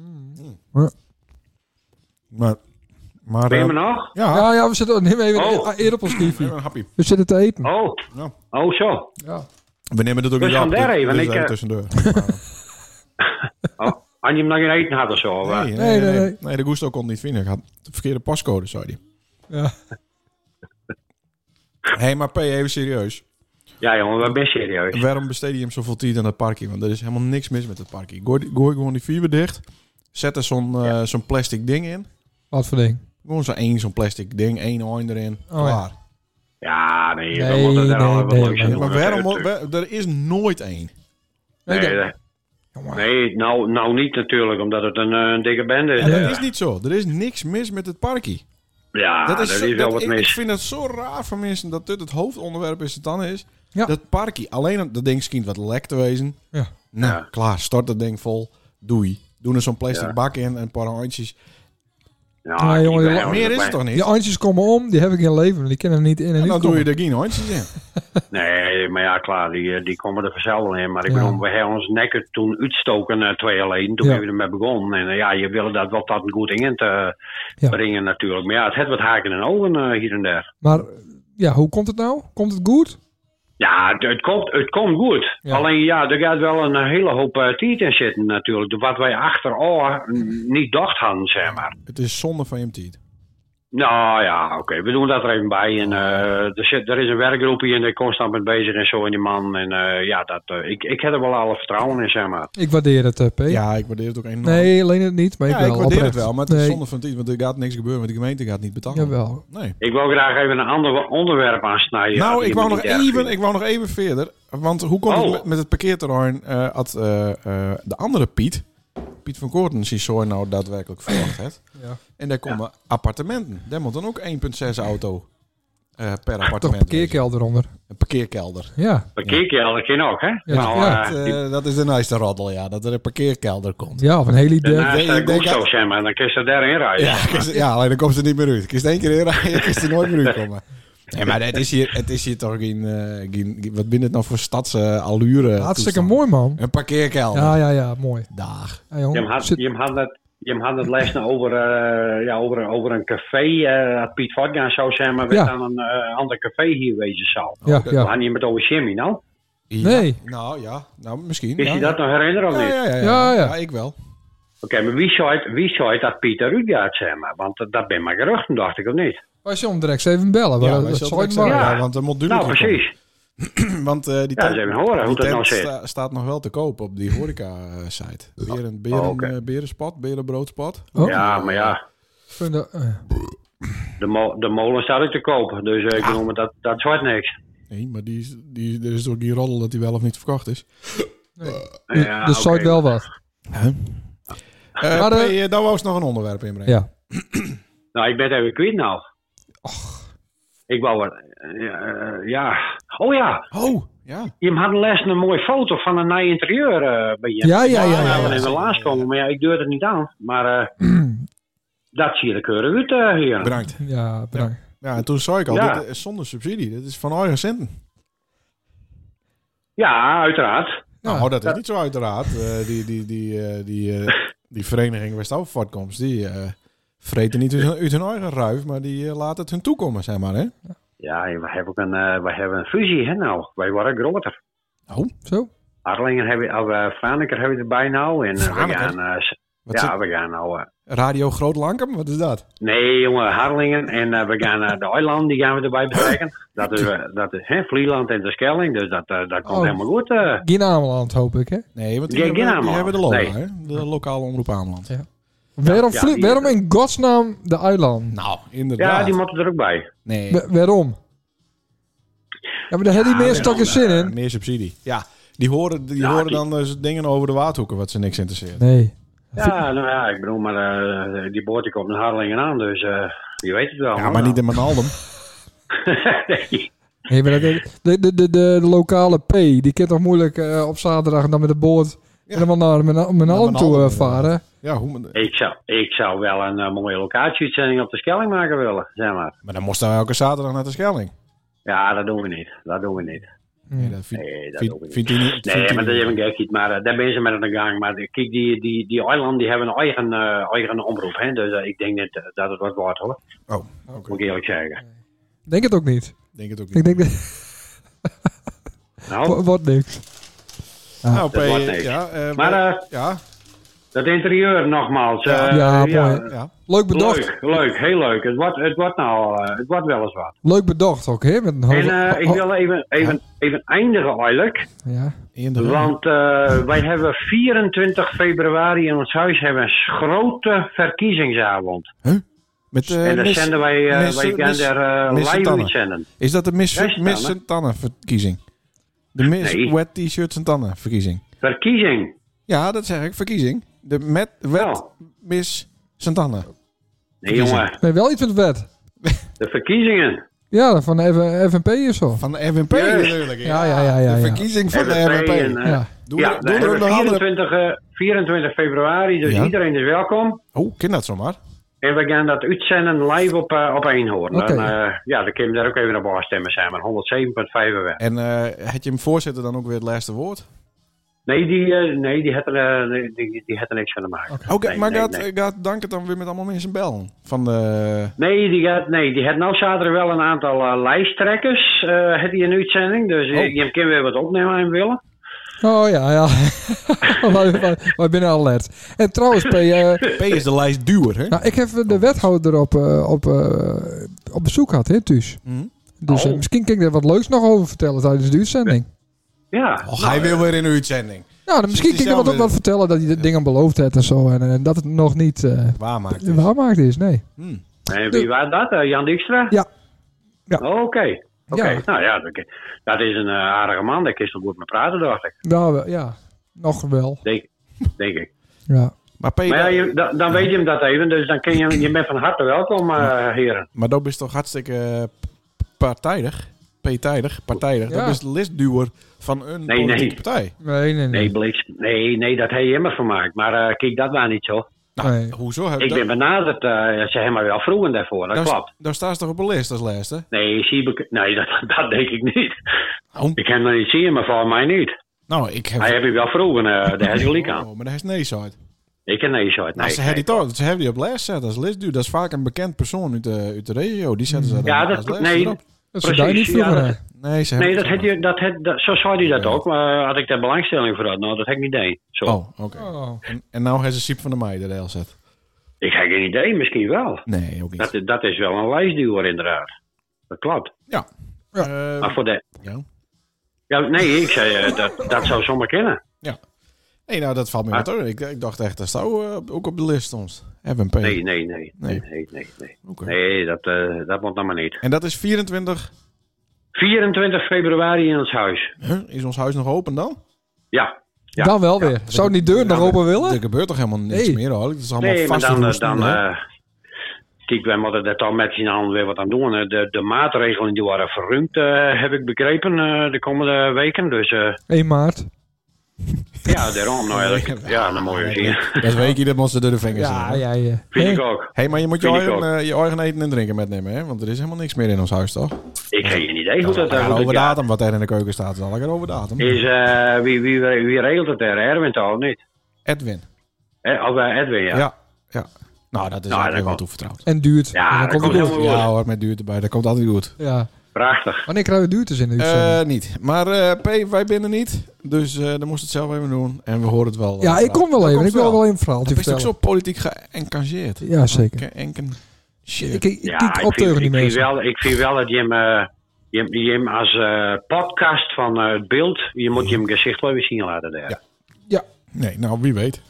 Maar, maar, Ben je eh, me nou? nog? ja, Ja, ja, we zitten oh, neem even Oh. een eer op ons ik kiefie. ben happy. We zitten te eten. Oh, Ja. oh zo. Ja. We nemen het ook We niet gaan op. daar dus- even, dus ik, eh, even tussendoor. Oh, had je hem nog in eten had of zo? eh? nee, nee, Nee, nee, nee, nee. Nee, de Gusto kon het niet vinden. Ik had de verkeerde pascode, zei hij. Ja. Hé, hey, maar P, even serieus. Ja, jongen, we zijn serieus. Waarom besteed je hem zoveel tijd aan dat parkje? Want er is helemaal niks mis met het parkje. Gooi, gooi gewoon die fiber dicht. Zet er zo'n eh, zo'n plastic ding in. Wat voor ding. Gewoon zo'n één, zo'n plastic ding. één oin erin. Oh, ja. klaar. Ja, nee, we Nee, moeten daar nee, allemaal nee, wat leuks nee. aan Ja, doen. maar waarom... natuurlijk. waar- er is nooit één. Nee, Nee, dat- nee. Jongen. Nee, nou, nou niet natuurlijk, omdat het een, eh, een dikke bende is. En dat Ja, is niet zo. Er is niks mis met het parkje. ja dat is, zo- Ah, wel dat- wat ik, ik mis. vind het zo raar van mensen dat dit het hoofdonderwerp is het dan is. Ja. Dat parkje. Alleen dat ding schijnt wat lek te wezen. Ja. Nou, Ja. klaar. Stort dat ding vol. Doei. Doen er zo'n plastic Ja. bak in en een paar handjes. Ja, Nee, jongen, die- ik ben wel- Nou, Meer is het toch niet? Die eindjes komen om, die heb ik in leven. Die kennen niet in en en dan niet doe komen. je er geen handjes in. Nee, maar ja, klaar, die, eh, die komen er vanzelf wel in. Maar ik Ja. bedoel, we hebben ons nekken toen uitstoken, eh, twee jaar geleden. Toen Ja. hebben we ermee begonnen. En eh, ja, je wilde dat wel tot een goed in te Ja. brengen natuurlijk. Maar ja, het heeft wat haken en ogen eh, hier en daar. Maar ja, hoe komt het nou? Komt het goed? Ja, het, het komt, het komt goed. Ja. Alleen ja, er gaat wel een hele hoop eh, tijd in zitten natuurlijk. Wat wij achteroor niet dacht hadden, zeg maar. Het is zonde van je tijd. Nou ja, oké, we doen dat er even bij. En, eh, er, zit, er is een werkgroep hier en daar constant mee bezig en zo en die man. En eh, ja, dat, eh, ik, ik heb er wel alle vertrouwen in, zeg maar. Ik waardeer het, eh, P. Ja, ik waardeer het ook enorm. Nee, alleen het niet, maar ik ja, wel. ik waardeer oprecht. het wel, maar het is Nee, zonde van tijd, want er gaat niks gebeuren, want de gemeente gaat niet betalen. Jawel. Nee. Ik wil graag even een ander onderwerp aansnijden. nou, als ik wou, iemand nog niet erg even, vindt. ik wou nog even verder. Want hoe komt het Oh. met, met het parkeerterrein? eh had eh, eh, de andere Piet, Piet van Koorten, die zo nou daadwerkelijk verwacht heeft. Ja. En daar komen appartementen. Daar moet dan ook 1,6 auto eh, per Toch appartement. wezen. parkeerkelder onder. Een parkeerkelder. Ja. Parkeerkelder ken ook, hè? Ja, nou, ja. eh, Dat, die- eh, dat is de naaiste roddel, ja. Dat er een parkeerkelder komt. ja, of een hele idee. daarnaast denk- eh, ik denk Gusto, dat- zeg maar. Dan kun je ze daarin rijden. Ja, kist- ja, alleen dan komt ze niet meer uit. Kist één keer inrijden, kist er nooit meer uitkomen. Nee, maar het is hier, het is hier toch geen, eh, geen, geen- Wat binnen het nou voor stadse allure? Hartstikke toestand? mooi, man. Een parkeerkelder. Ja, ja, ja, mooi. Dag. Ja, Je jongen, had, zit- je had het... Je had het les over, eh, ja, over, over een café, eh, had Piet Vodgaan zou zijn, maar we Ja. aan een eh, ander café hier wezen zou. Oh, ja, We ja. hadden niet met over Jimmy, nou. Ja. Nee. Nou ja, nou misschien. Is ja, je dat nog herinneren of ja, niet? ja, ja, ja. Ja, ja. Ja, ik wel. Oké, maar wie zou, het, wie zou het dat Pieter Ruud gaat, zeg maar? Want dat- dat ben maar geruchten, dacht ik, of niet? Wij zullen direct even bellen. Ja, wij Ja, dat zullen zal ik het zeggen, maar. ja, want er moet duurder nou, precies. Want eh, die Ja, tent- eens even horen die hoe dat tent nou zit. sta- staat nog wel te koop op die horeca-site. Beren, beren, Oh, oké. eh, berenspot, berenbroodspot. Oh, Ja, maar ja, vinden- eh, de, mo- de molen staat ook te koop. Dus eh, ik noem het, dat, dat wordt niks. Nee, maar die, is- die, er is toch die roddel dat die wel of niet verkocht is. dus Ja, dus zal oké. ik wel wat. Eh Maar, eh, P, eh, daar wou ze nog een onderwerp inbrengen. Ja. Nou, ik ben het even kwijt nou. Ik wou wat... eh, ja. Oh ja, Oh, ja. je had les een mooie foto van een nieuw interieur eh, bij je. Ja, ja, ja. Ja, ja, we ja. even laatst komen, maar ja, ik durf het niet aan. Maar eh, dat zie je de keuren uit eh, hier. Bedankt. Ja, bedankt. Ja, en toen zei ik al, Ja. dit is zonder subsidie. Dit is van eigen centen. Ja, uiteraard. Ja. Nou, dat is niet zo uiteraard. Eh, die, die, die, eh, die, eh, die vereniging west voortkomst die eh vreten niet uit hun, uit hun eigen ruif, maar die eh, laat het hun toekomen, zeg maar. Hè? Ja, we hebben, ook een, eh, we hebben een fusie, hè nou. Wij worden groter. Oh, Zo. Harlingen hebben we, of eh, Franeker hebben we erbij nou. En eh, we Franeker? gaan, eh, s- wat ja, is- we gaan nou... eh, Radio Groot Lankum, wat is dat? nee, jongen, Harlingen. En eh, we gaan eh, de eilanden, die gaan we erbij betrekken. Dat is, eh, dat is hè, Vlieland en de Schelling. Dus dat, eh, dat komt Oh. helemaal goed. eh. Geen Ameland, hoop ik, hè? Nee, want die, Geen hebben, die Ameland. hebben de LOA, Nee. hè? de lokale omroep Ameland. Ja. Waarom, ja, vlie- die- waarom in godsnaam de eiland? Nou, ja, inderdaad. die moeten er ook bij. nee, Wa- waarom? Ja, maar daar hebben die mensen toch geen zin in? meer subsidie. Ja, die horen, die Ja, horen die- dan dus dingen over de waardhoeken wat ze niks interesseert. Nee. Ja, nou ja, ik bedoel, maar eh, die boot die komt naar Harlingen aan. Dus eh, je weet het wel. Ja, hoor. maar niet in Manaldum. Nee, maar dat- de, de, de, de, de lokale P, die kan toch moeilijk eh, op zaterdag dan met de boot helemaal naar mijn, mijn hand toe Alm, eh, varen? Ja, hoe, ik, zou, ik zou wel een eh, mooie locatieuitzending op de Schelling maken willen, zeg maar. maar dan moest hij elke zaterdag naar de Schelling. Ja, dat doen we niet. Dat doen we niet. Mm. Nee, dat vind, Nee, dat vind- doe ik niet. vindt hij niet. vindt Nee, hij maar dat niet. is even gekkiet. Maar eh, daar ben ze met aan de gang. Maar de- kijk, die, die, die eilanden die hebben een eigen, eh, eigen omroep. Hè? Dus eh, ik denk niet eh, dat het wat wordt hoor. Oh, oké. Moet ik eerlijk zeggen. Denk het ook niet. Denk het ook niet. Ik denk dat Nou, wordt niks. nou, dat P, wordt niks. ja, eh, Maar, wij- eh, ja, dat interieur nogmaals. eh, Ja. Ja, mooi. ja. Leuk bedacht. Leuk, Leuk, leuk, heel leuk. Het wordt, het wordt nou, eh, het wordt wel eens wat. bedacht ook, hè? Met een En hoge- eh, ik ho- wil even, even, even eindigen eigenlijk. Ja. In de rug. Want eh, wij hebben 24 februari in ons huis hebben een grote verkiezingsavond. Met, eh, en daar mis- zenden wij, eh, mis- wij gaan mis- daar eh, mis- live tannen. uitzenden. Is dat de Miss, Daar staan miss we. en Tannen verkiezing? De Miss Nee. Wet T-shirts en Tannen verkiezing? Verkiezing. Ja, dat zeg ik, verkiezing. De met, Wet Nou. Miss Santana. Nee Verkiezing. jongen, Nee, wel iets met wet. de verkiezingen. Ja, van de FNP of zo. Van de FNP Juist. natuurlijk. Ja, ja, ja, ja, De ja. verkiezing van de FNP en, FNP. eh, Ja. Doe ja, er doe we er ook hebben nog andere... 24, eh, 24 februari, dus Ja. iedereen is welkom. Oh, ken dat zomaar. En we gaan dat uitzenden live op, eh, op Eenhoorn. Oké. Dan, eh, ja, dan kun je daar ook even op afstemmen, zijn maar 107.5 weg. En eh had je hem voorzitter dan ook weer het laatste woord? Nee, die, eh, nee, die had er, eh, nee, die, die had er niks van te maken. Oké, Nee, maar nee, gaat, nee. gaat Dank het dan weer met allemaal mensen bellen? Van eh, de... Nee, die had, nee, die had nou zaterdag wel een aantal eh, lijsttrekkers. eh had hij een uitzending. Dus Oh. je, je kan weer wat opnemen aan willen. Oh ja, ja. wij, wij- wij binnen alert. En trouwens, P, eh, P is de lijst duur, hè? nou, ik heb de wethouder op, eh, op, eh, op bezoek gehad, hè, thuis. Mhm. Dus eh, Oh. misschien kan ik daar wat leuks nog over vertellen tijdens de uitzending. Ja. Och, hij wil weer in de uitzending. Nou, dan misschien Zit kan hij ik zelf er wat, eh, wat in? vertellen dat hij de dingen beloofd heeft en zo. En, en dat het nog niet eh Waar maakt het? waarmaakt is, nee. Hm. En wie was dat? Eh, Jan Dijkstra? Ja. Ja. Oké. Oké, Ja. nou ja, dat, dat is een eh, aardige man. Daar kun je toch goed mee praten, dacht ik. Nou, wel, ja. Nog wel. Denk, denk ik. Ja. Maar P, Maar ja, je- da- dan weet je hem dat even. Dus dan kun je, je bent van harte welkom, eh, heren. Maar dat is toch hartstikke eh, p- partijdig? Partijdig, partijdig. Ja. Dat is de listduwer van een Nee, politieke nee. partij. Nee, nee, Nee, nee. Blix, nee, nee, dat heb je hem van gemaakt. Maar eh, kijk, dat was niet zo. Nou, Nee. hoezo? Heb Ik dat- ben benaderd. eh, ze hebben mij wel vroegen daarvoor, dat daar, klopt. daar staat ze toch op een lijst als laatste? Nee, zie ik- nee dat, dat denk ik niet. Oh. Ik heb hem niet zien, maar volgens mij niet. Nou, ik heb... Hij heeft je wel vroegen, eh daar heb je gelijk aan. Oh, maar daar is nee uit. Ik heb nee zo uit. Nou, Nee, ze hebben die toch, ze hebben die op lijst zetten als listduwer. Dat is vaak een bekend persoon uit de, uit de regio. Die zetten ze dan Hmm. Ja, als dat- lijst nee. erop. Dat zou daar niet precies, ja, vroeger. dat- hè. Nee, ze Nee, hebben dat het had je, dat had, dat, zo zei hij dat ook, maar eh, had ik daar belangstelling voor had. Nou, dat heb ik niet deed. Zo. Oh, oké. Oh. En, en nou heeft ze Siep van der Meij de hele zet. Ik heb geen idee, misschien wel. Nee, ook niet. Dat, dat is wel een lijstduwer inderdaad. Dat klopt. Eh, Maar voor de... ja. Ja, nee, ik zei, eh, dat, dat zou zomaar kennen. Nee, nou, dat valt me Maar- wat hoor. Ik, ik dacht echt, dat zou eh, ook op de lijst stond. FNP. Nee, nee, nee. Nee, nee, nee. Nee, Oké. nee dat, eh, dat moet dan maar niet. En dat is 24. 24 februari in ons huis. Huh? Is ons huis nog open dan? Ja. Ja. Dan wel weer. Zou die deur nog open willen? Er gebeurt toch helemaal niks Nee. meer hoor. Het is allemaal Nee, maar vast dan... eh, vast dan eh, kijk, wij moeten dat dan met z'n allen weer wat aan doen. hè. De, de maatregelen die worden verruimd, eh, heb ik begrepen, eh, de komende weken. Dus... eh, 1 maart. Ja, daarom. Nou ja, dat, ja, dan moet je zien. Dat weet je, dat moet ze door de vingers Ja, Hé, ja, ja. Vind ik Hè? ook. hey, maar je moet je Vind ik eigen, eh, je eigen eten en drinken metnemen, hè? Want er is helemaal niks meer in ons huis, toch? Ik heb geen idee hoe dat Ja, daar over ja, datum, wat er in de keuken staat, is al lekker over datum. is. eh, wie, wie, wie regelt het er? Erwin toch of niet? Edwin. Eh, Of eh, Edwin, ja. Ja. ja. Nou, dat is Nou, eigenlijk dat wel komt- toevertrouwd. En duurt. Ja, En dan dat komt komt het helemaal goed. goed. Ja hoor, met duurt erbij. Dat komt altijd goed. Ja. Prachtig. Wanneer krijgen we duurtes Dus, in de uitzending? Eh, niet. Maar eh, P, wij binnen niet. Dus eh, dan moest het zelf even doen. En we horen het wel. eh, ja, ik vandaag. kom wel Dan even. komt Ik wil het wel even een verhaaltje Het is ook zo vertellen. politiek geëngageerd. Ja, zeker. Ke- Enken. Shit. Ik, ik, ik Ja, kijk op vind, tegen die ik, vind mensen. wel, ik vind wel dat je hem, eh, je, hem- je hem als eh, podcast van eh, het beeld, je moet je hem gezicht wel weer zien laten daar. Ja. Ja. Nee, nou wie weet.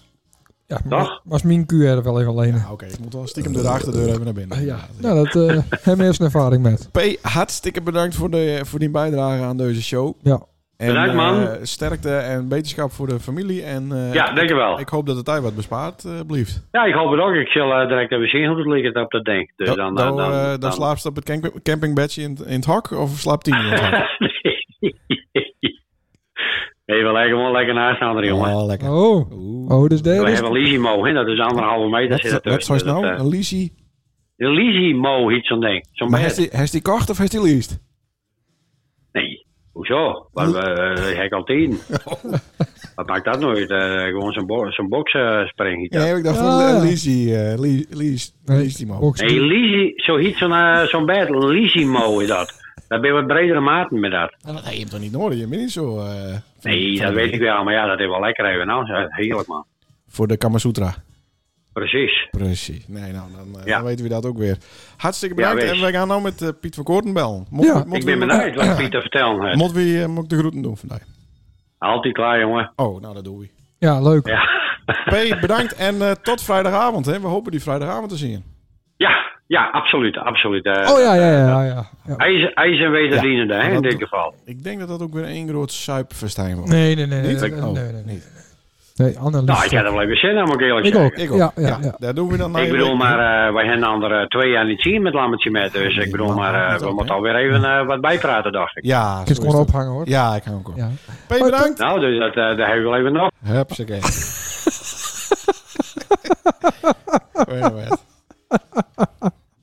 Ja, Toch? was mijn QR er wel even alleen. Oké, ik moet wel stiekem door de achterdeur even naar binnen. Eh, Ja, nou, dat eh hebben we eerst een ervaring met. P, hartstikke bedankt voor, de, voor die bijdrage aan deze show. Ja. En, Bedankt, man. eh, sterkte en beterschap voor de familie. En, eh, Ja, dankjewel. Ik, ik hoop dat het daar wat bespaart, eh blieft. Ja, ik hoop het ook. Ik zal eh, direct even zien hoe het ligt op dat ding. Dus Dan, dan, dan, dan, dan, eh, dan slaapt ze op het camp- campingbedje in, het- in het hak of slaapt hij in het hak? Nee, we leggen gewoon lekker naast elkaar, jongen. Oh, lekker. Oh, Oeh. oh dus We daar is... hebben Lisimo, hè? dat is anderhalve meter. Wat, zit er wat, wat tussen. is nou? Dat, eh, Een leasie? Een Lisimo, iets zo'n ding. Zo'n Maar bed. heeft hij- heeft hij kocht of heeft hij leased? Nee, hoezo? Wat, eh, Hij kan tien. Oh. Wat maakt dat nooit? Eh, gewoon zo'n bo zo'n boksspring. Ja, nee, ik dacht Ja. Oh. van leasie. eh, le- lease- lease die man. box. Lisi, zo heet zo'n eh, zo'n bed. Lisimo is dat. Daar ben je wat bredere maten met dat. Nou, Dat heb je hem toch niet nodig? Je bent niet zo... eh, van- Nee, van- dat weet ik wel. Maar ja, dat is wel lekker even. Nou, eh, heerlijk man. Voor de Kama Sutra. Precies. Precies. Nee, nou, dan, eh, Ja. dan weten we dat ook weer. Hartstikke bedankt. Ja, wees. en wij gaan nou met eh, Piet van Koorten bellen. Moet- Ja. moet Ik we- ben benieuwd wat Piet te vertellen heeft. Moet we eh, moet ik de groeten doen vandaag? Altijd klaar, jongen. Oh, nou dat doen we. Ja, leuk. Ja, P, bedankt en eh, tot vrijdagavond. Hè. We hopen die vrijdagavond te zien. ja, ja absoluut. absoluut. Eh, Oh ja, ja, ja, ja. ja. IJs, IJs en wederdienende, hè, in dat- dit geval. Ik denk dat dat ook weer één groot suipfestijn wordt. Nee, nee, nee. Nee, Niet? nee, nee. Oh, nee, nee, nee. niet. nee Annelies. eh, Nou, ik heb er wel even zin aan, moet ik eerlijk Ik zeggen. ook. Ik ook. Ja, ja, ja. Daar doen we dan na Ik je bedoel, week. maar eh, wij hebben de andere twee jaar niet zien met Lammetje met. Dus ik bedoel, man, maar eh, houdt we op, moeten hè? alweer even eh, wat bijpraten, dacht ik. Ja, Ik kan het zo gewoon is dat. ophangen hoor. Ja, ik hou hem ook. Ja. Oh, P, bedankt. Nou, dus dat, eh, daar hebben we wel even nog. Hupsakee.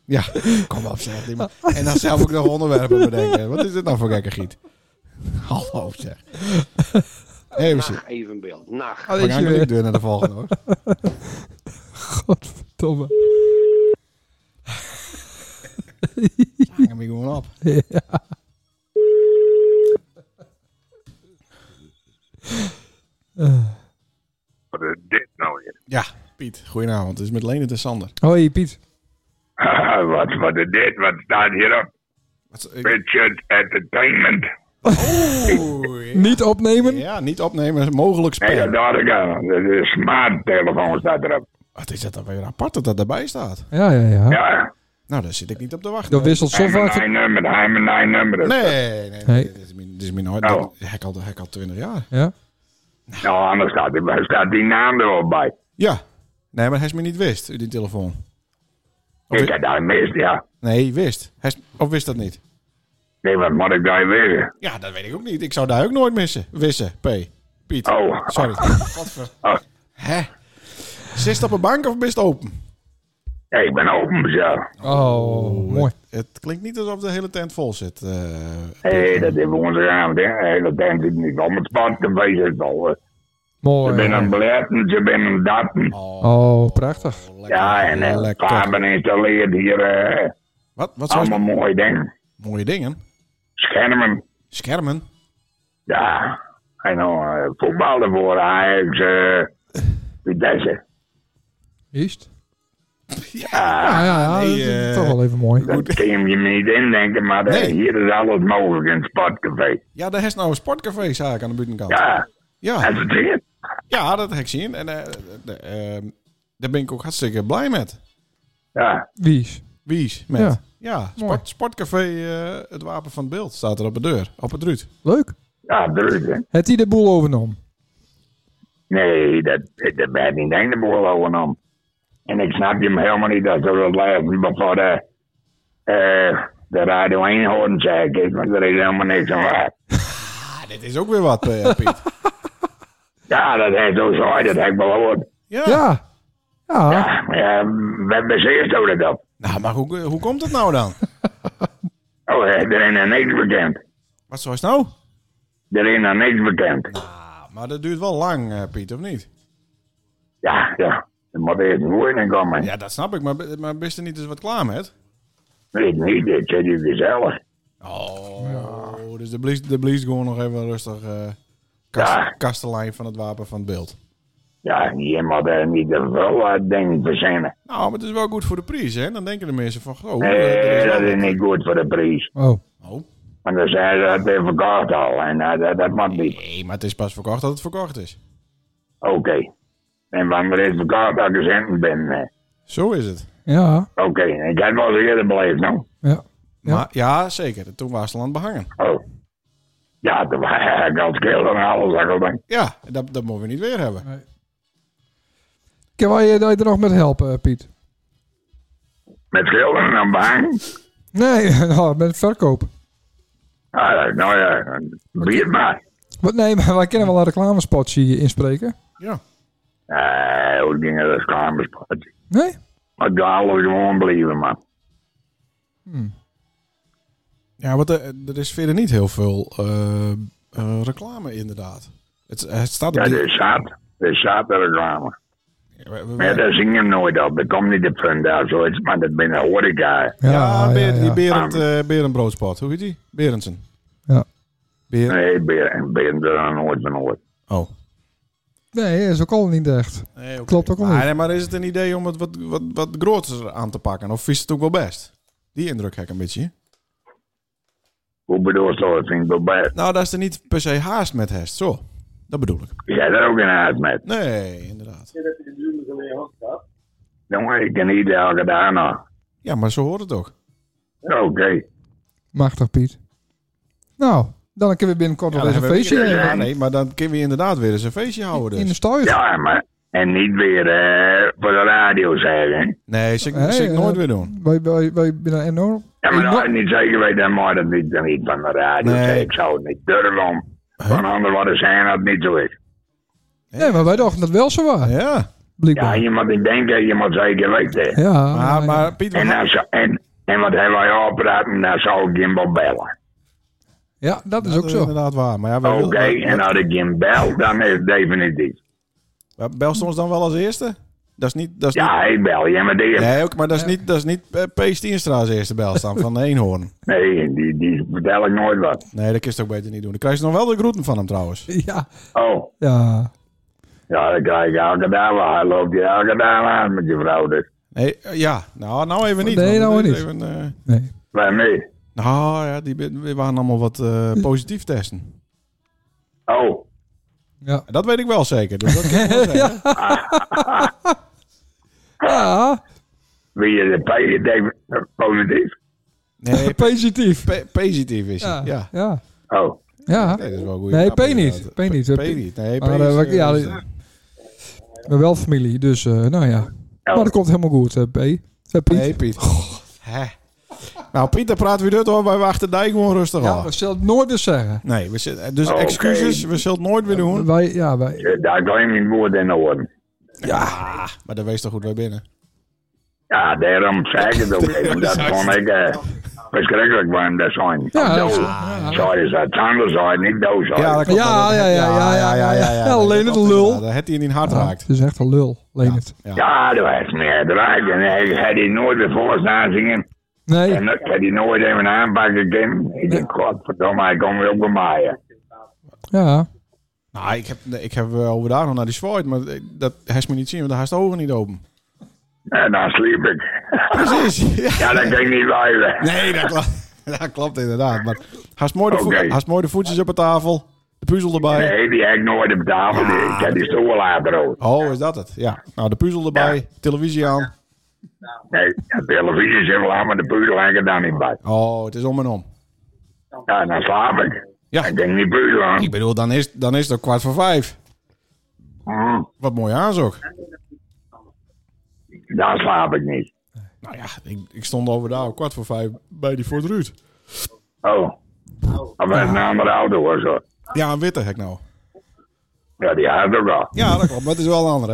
ja, kom op zeg. die man. En dan zelf ook nog onderwerpen bedenken. Wat is dit nou voor gekke giet? Hallo zeg. Even zien. Nacht evenbeeld. Nacht. Ah, We weet gaan je gelijk weer. door naar de volgende hoor. eh. Godverdomme. Hang hem hier gewoon op. Wat is dit nou weer? Ja, Piet, goedenavond. Het is met Leendert en Sander. Hoi Piet. wat, wat is dit? Wat staat hierop? Wat- ik- Richard Entertainment. Oeh, Niet opnemen. ja, niet opnemen, mogelijk Nee, dat spelen. dacht ik aan. Dat is een smarttelefoon staat erop. Wat is dat dan weer apart dat dat daarbij staat? Ja, ja, ja. Ja, Nou, daar zit ik niet op te wachten. Dat wisselt zo hij heeft vaak. mijn nummer, hij heeft mijn nummer. Nee, nee, nee. Nee. Dit is mijn, dit is mijn nooit. Oh. dit- Hek al, hek al 20 jaar. Ja. Nou, anders staat, die- staat die naam er wel bij. Ja. Nee, maar hij is me niet wist, die telefoon. Of Ik wi- had dat mis, ja. nee, wist. Hij is, of wist dat niet? Nee, wat moet ik daar weer? Ja, dat weet ik ook niet. Ik zou daar ook nooit missen. Wissen, P. Piet. Oh. Sorry. Godver... Oh. Hè? Zit op een bank of best open? Ja, ik ben open zo. Oh, mooi. Het, het klinkt niet alsof de hele tent vol zit. eh. Hé, hey, dat is woensdagavond, hè. Hey, dat denk ik niet. Om het spannend te wezen is al. Ze zijn aan Mooi. het beletten, ze zijn aan het datten. Oh, prachtig. lekker, Ja, en eh, lekker. kabel installeerd hier. eh, Wat, wat zijn allemaal mooie dingen. mooie dingen? Schermen. Schermen? Ja. En dan eh, voetbal ervoor. Ajax. eh Vitesse. Juist. Ja. Ah ja, ja nee, dat is eh, toch wel even mooi. Dat kun je me niet indenken, maar eh, Nee. hier is alles mogelijk in het sportcafé. Ja, daar is nou een sportcafé, zaak aan de buitenkant. Ja, ja, dat is het. hier. ja, dat heb ik zien. En eh, de- ehm, daar ben ik ook hartstikke blij met. Ja, Wies. Wies, met. Ja. Ja, Mooi. sport, sportcafé eh, Het Wapen van het Beeld staat er op de deur. Op het ruut. Leuk. ja druk. hè. Het die de boel overnomen. Nee, dat, dat ben ik niet in de boel over om. En ik snap je hem helemaal niet dat ze dat lijven bevor de, eh, de Radio 1 hoorn zeg is, want er is helemaal niks aan waar. Ah, dit is ook weer wat, eh, Piet. Ja, dat heeft zo zo, dat heb ik wel gehoord. Ja. Ja. Ja. Ja, ja, wat baseert u dat op? Nou, maar hoe, hoe komt dat nou dan? Oh, eh, er is nog niks bekend. Wat zoals nou? Er is nog niks bekend. Ah, maar dat duurt wel lang, eh, Piet, of niet? Ja, ja. Er moet eerst een woning komen. Ja, dat snap ik. Maar, be- maar bist er niet eens wat klaar met? Ik niet, dit zit hier gezellig. Oh, dus de blies, de blies gewoon nog even rustig eh kast, Ja. kastelein van het wapen van het beeld. Ja, je moet er niet te veel eh, dingen verzinnen. Nou, maar het is wel goed voor de prijs, hè? Dan denken de mensen van, oh, eh, er Nee, is dat wel- is niet goed voor de prijs. Oh. Oh, Want dan zijn ze dat even verkocht al. En eh, dat, dat mag niet. nee, maar het is pas verkocht dat het verkocht is. Oké. En wanneer is verkocht dat ik gezend ben? eh, Zo is het. Ja. Oké, ik heb wel eens eerder beleefd, nou. Ja. Ja. Maar, ja, zeker. Toen was het land behangen. Oh. Ja, toen was ik als keel en alles. dat ik denk, Ja, dat, dat moeten we niet weer hebben. Kan wij eh, je daar nog met helpen, Piet? Met schilderen en behang. Nee, nou, met verkoop. Ah, nou ja, bier maar. Wat, nee, maar wij kunnen wel een reclamespot hier inspreken. Ja. Nee, hoe dingen dat kamerspot. Nee? Maar ik ga alles gewoon blijven, man. Ja, want eh, er is verder niet heel veel eh, eh, reclame, inderdaad. Het, het staat op Dat die... is zat. Dat is zat de reclame. we- we- we- dus- Maar ja, daar zing je hem nooit op. Dat komt niet de punt uit, zoiets. Maar dat ben een horeca. Ja, Be- die ja. Berend, Ah. eh, Berenbroodspot. Hoe heet die? Berendsen. Ja. Beer... Nee, ik ben, ik ben er nooit van ooit. Oh. Nee, eh, is ook al niet echt. Nee, oké. Klopt ook wel maar, niet. nee, maar is het een idee om het wat, wat, wat groter aan te pakken? Of is het ook wel best? Die indruk heb ik een beetje. Hoe bedoel je dat? Vind ik wel best. Nou, dat is er niet per se haast met hest. Zo, dat bedoel ik. Ik heb er ook in huis met. Nee, inderdaad. Jongen, ik kan niet elke dag nog. Ja, maar zo hoort het ook. Oké. Machtig, Piet. Nou, dan kunnen we binnenkort Ja, nog dan eens een hebben we- feestje Ja, in- nee, maar dan kunnen we inderdaad weer eens een feestje houden. in de Dus. stuit. Ja, maar. En niet weer eh, voor de radio zeggen. Nee, zit Hey, ik, zit ik nooit eh, weer doen. Wij, wij, wij zijn enorm... Ja, maar enorm- dat is niet zeker weet, dan mag dat niet, dan niet van de radio Nee. zeggen. Ik zou het niet durven om van anderen wat te zijn dat het niet zo is. Nee, maar wij dachten dat wel zo was. Ja, Ja, Blijkbaar. je moet niet denken, je moet zeker weten. Oh, Ja, Ah, maar, ja. maar Piet, we En, gaan- als, en, en wat hebben wij al praten, dan zou ik je wel bellen. Ja, dat is ook zo. inderdaad waar. Maar ja, wij Oké, willen- wij- en als ik hem bel, dan is het wij- definitief. Belst ons dan wel als eerste? Dat is niet... Dat is Ja, niet ik bel je, maar die, is- nee, ook, maar dat is niet, dat is niet eh, P. Stienstra als eerste bel staan van Eenhoorn. nee, die, die vertel ik nooit wat. Nee, dat kun je het ook beter niet doen. Dan krijg je nog wel de groeten van hem trouwens. Ja, Oh, ja. ja, dan krijg ik elke dag wel. Hij loopt je elke dag aan met je vrouw, dus. Nee, eh, ja. Nou, nou even niet. Nee, want nou dat niet. is even, eh, Nee. Waarmee? nou ja, die ben- die waren allemaal wat eh, positief testen. Oh, Ja. Dat weet ik wel zeker. Dus dat kan ik wel zeggen. ja, wie is het? Je denkt eh, positief? Nee, p- positief. p- positief is hij. Ja. Ja, ja. Oh, ja. Nee, dat is wel een goede Nee, grap, P niet. inderdaad. P niet. P niet. Nee, P Maar, is, eh, wat- eh, ja, is- die- Maar wel familie, dus eh, nou ja. Maar dat komt helemaal goed, eh, B. Eh, Piet. Nee, Piet. Hè. Nou, Piet, daar praten we dit hoor. Wij wachten dijk gewoon rustig ja, aan. we zullen het nooit eens zeggen. Nee, we zit, dus Oké. excuses. We zullen het nooit weer doen. Wij, ja, wij, eh, daar kan je mijn woord in horen. Ja, maar dat wees toch goed weer binnen. Ja, daarom zei ik het ook even. Dat vond ik eh, verschrikkelijk voor hem, dat zijn. ja, Dood. dat- ja, ja. Sorry, dat zijn zijn, niet dood zijn. dat klopt. Ja, ja, ja, ja, ja, ja. Ja, Dat alleen klopt het lul. inderdaad. Dat het hij in hart raakt. Het is echt een lul, Leonard. Ja, dat was meer draak. En hij had die nooit ervoor staan zingen. Nee, En dat had hij nooit even aanpakken kunnen. Ik denk, godverdomme, hij komt weer op de maaien. ja. Nou, ik heb, ik heb eh, over daar nog naar die zwaait, maar ik- dat hij is me niet zien, want daar is de ogen niet open. En dan sliep ik. Ah. Precies. Ja. Ja, dat kan ik niet blijven. Nee, dat klopt. Dat klopt inderdaad. Maar haast mooi, de vo- Oké. haast mooi de voetjes op de tafel. De puzzel erbij. Nee, die heb ik nooit op tafel. Die- Ah. Ik heb die stoel later ook. Oh, is dat het? Ja. Nou, de puzzel erbij. Televisie aan. Nee, de televisie zit wel aan, maar de puzzel heb ik er dan niet bij. Oh, het is om en om. Ja, dan slaap ik. Ja. Ik denk niet puzzel aan. Ik bedoel, dan is, dan is het ook kwart voor vijf. Hm, Wat mooi aanzog. Dan slaap ik niet. Nou ja, ik, ik stond over daar om kwart voor vijf bij die Ford Ruud. Oh. Of was een andere auto of zo. Ja, een witte hek nou. Ja, die had ik ook al. Ja, dat klopt. Maar het is wel een andere.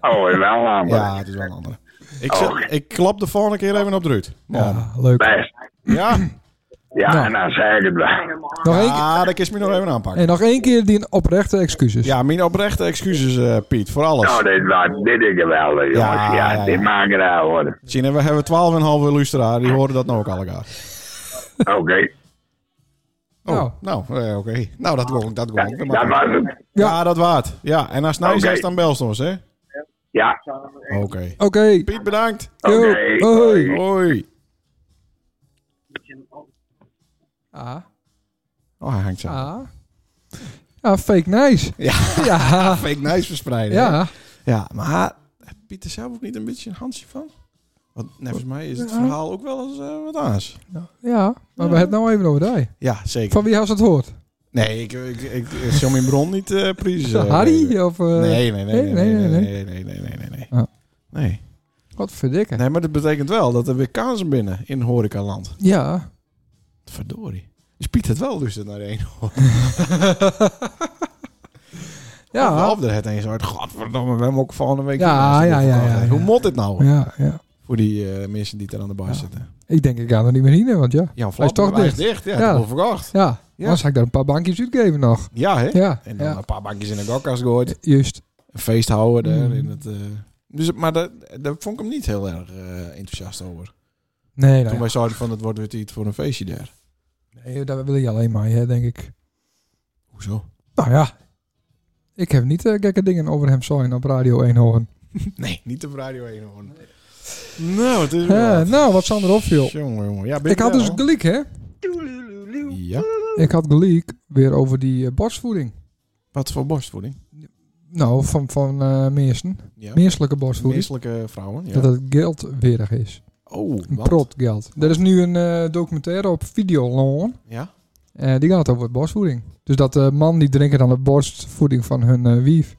Oh, is wel een andere. Ja, het is wel een andere. Ik, zeg- ik klap de volgende keer even op de Ruud. Man. ja Ah, leuk. Best. Ja. Ja, en dan zei ik het wel. Nog één, Ah, dat is me nog even aanpakken. en nog één keer die oprechte excuses. Ja, mijn oprechte excuses, eh, Piet, voor alles. Nou, dit, was, dit is geweldig, jongens. Ja, Ja, ja, ja. dit maakt het uit, hoor. Zien, en we hebben 12,5 luisteraar, die horen dat nou ook allemaal. Oké, Oh, Nou. nou, eh, oké. Nou, dat klonk, dat klonk. dat was het. Ja, dat waard. Ja, en als Nijs Oké. is, dan belst ons, hè? Oké. Ja, Oké. Piet, bedankt. Yo. Oké. oh. Hoi. Hoi. Ah, Oh, hij hangt zo. ah. Ja, fake nice. Ja, Ja, fake Nijs verspreiden. hè? ja. ja, maar Piet is zelf ook niet een beetje een handje van? Want volgens mij is het verhaal ook wel eens eh, wat anders. Ja, maar we hebben het nou even over die. Ja, zeker. Van wie had ze het hoord? Nee, ik, ik, ik, ik zal mijn bron niet eh Is priezen. dat Harry? Of, eh, Nee, nee, nee, nee, nee, nee, nee. nee, nee, nee, nee, nee. Ah. Nee. Wat verdikken. Nee, maar dat betekent wel dat er weer kansen binnen in horecaland. Ja. Verdorie. Dus Piet het wel dus naar één. Ja. Of er het eens uit. Godverdomme, we hebben ook volgende week... Ja, weer- ja, ja, ja, ja. Hoe moet dit nou? Ja, ja. Voor die eh, mensen die er aan de bar zitten. Ik denk, ik ga er niet meer in, hè, want ja. Ja, Hij is toch Hij is dicht. dicht, ja. Ja. Dat verkocht. Ja, Ja. dan zou ik daar een paar bankjes uitgeven nog. Ja, hè? Ja, En dan ja. een paar bankjes in de gokkast gegooid. Juist. Een feest houden daar. Mm. In het, eh, dus, maar daar, daar vond ik hem niet heel erg eh, enthousiast over. Nee, Toen nee. wij zeiden van, het wordt weer iets voor een feestje daar. nee dat wil je alleen maar, hè, denk ik. Hoezo? Nou ja, ik heb niet eh, gekke dingen over hem zijn op Radio 1 horen. Nee, niet op Radio 1 hoor. Nou, het is Eh, wel... nou, wat Sander opviel. Jongen, jongen. Ja, ben Ik je had wel, dus hoor. gelijk, hè? Ja. Ik had gelijk weer over die eh, borstvoeding. Wat voor borstvoeding? Nou, van, van eh mensen. Ja. Menselijke borstvoeding. Menselijke vrouwen, ja. Dat het geldwerig is. Oh, Een wat? prot geld. Er is nu een eh, documentaire op Videolon. Ja? Eh, die gaat over borstvoeding. Dus dat eh, man die drinken dan de borstvoeding van hun eh, wief.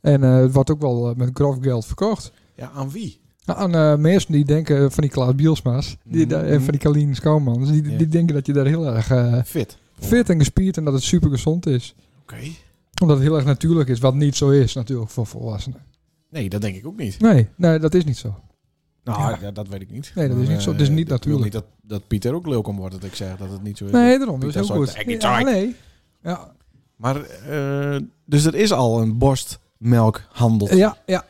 En eh, het wordt ook wel eh, met grof geld verkocht. Ja, aan wie? Nou, aan eh, mensen die denken van die Klaas Bielsma's die, daar- en van die Kalien Schouwmans, die, Mhm. Ja. die denken dat je daar heel erg eh, Fit. fit en gespierd en dat het super gezond is. Oké. Omdat het heel erg natuurlijk is, wat niet zo is natuurlijk voor volwassenen. Nee, dat denk ik ook niet. Nee, nee dat is niet zo. Nou, Ja. ja, dat weet ik niet. Nee, dat is Maar, niet zo. eh, Dat is niet ik wil natuurlijk. Niet dat, dat Pieter ook leuk om wordt dat ik zeg dat het niet zo is. Nee, daarom. Dat is Dat heel zou goed. het echt niet Ja, zijn. nee. Ja, Maar, eh, dus er is al een borstmelkhandel. ja, ja.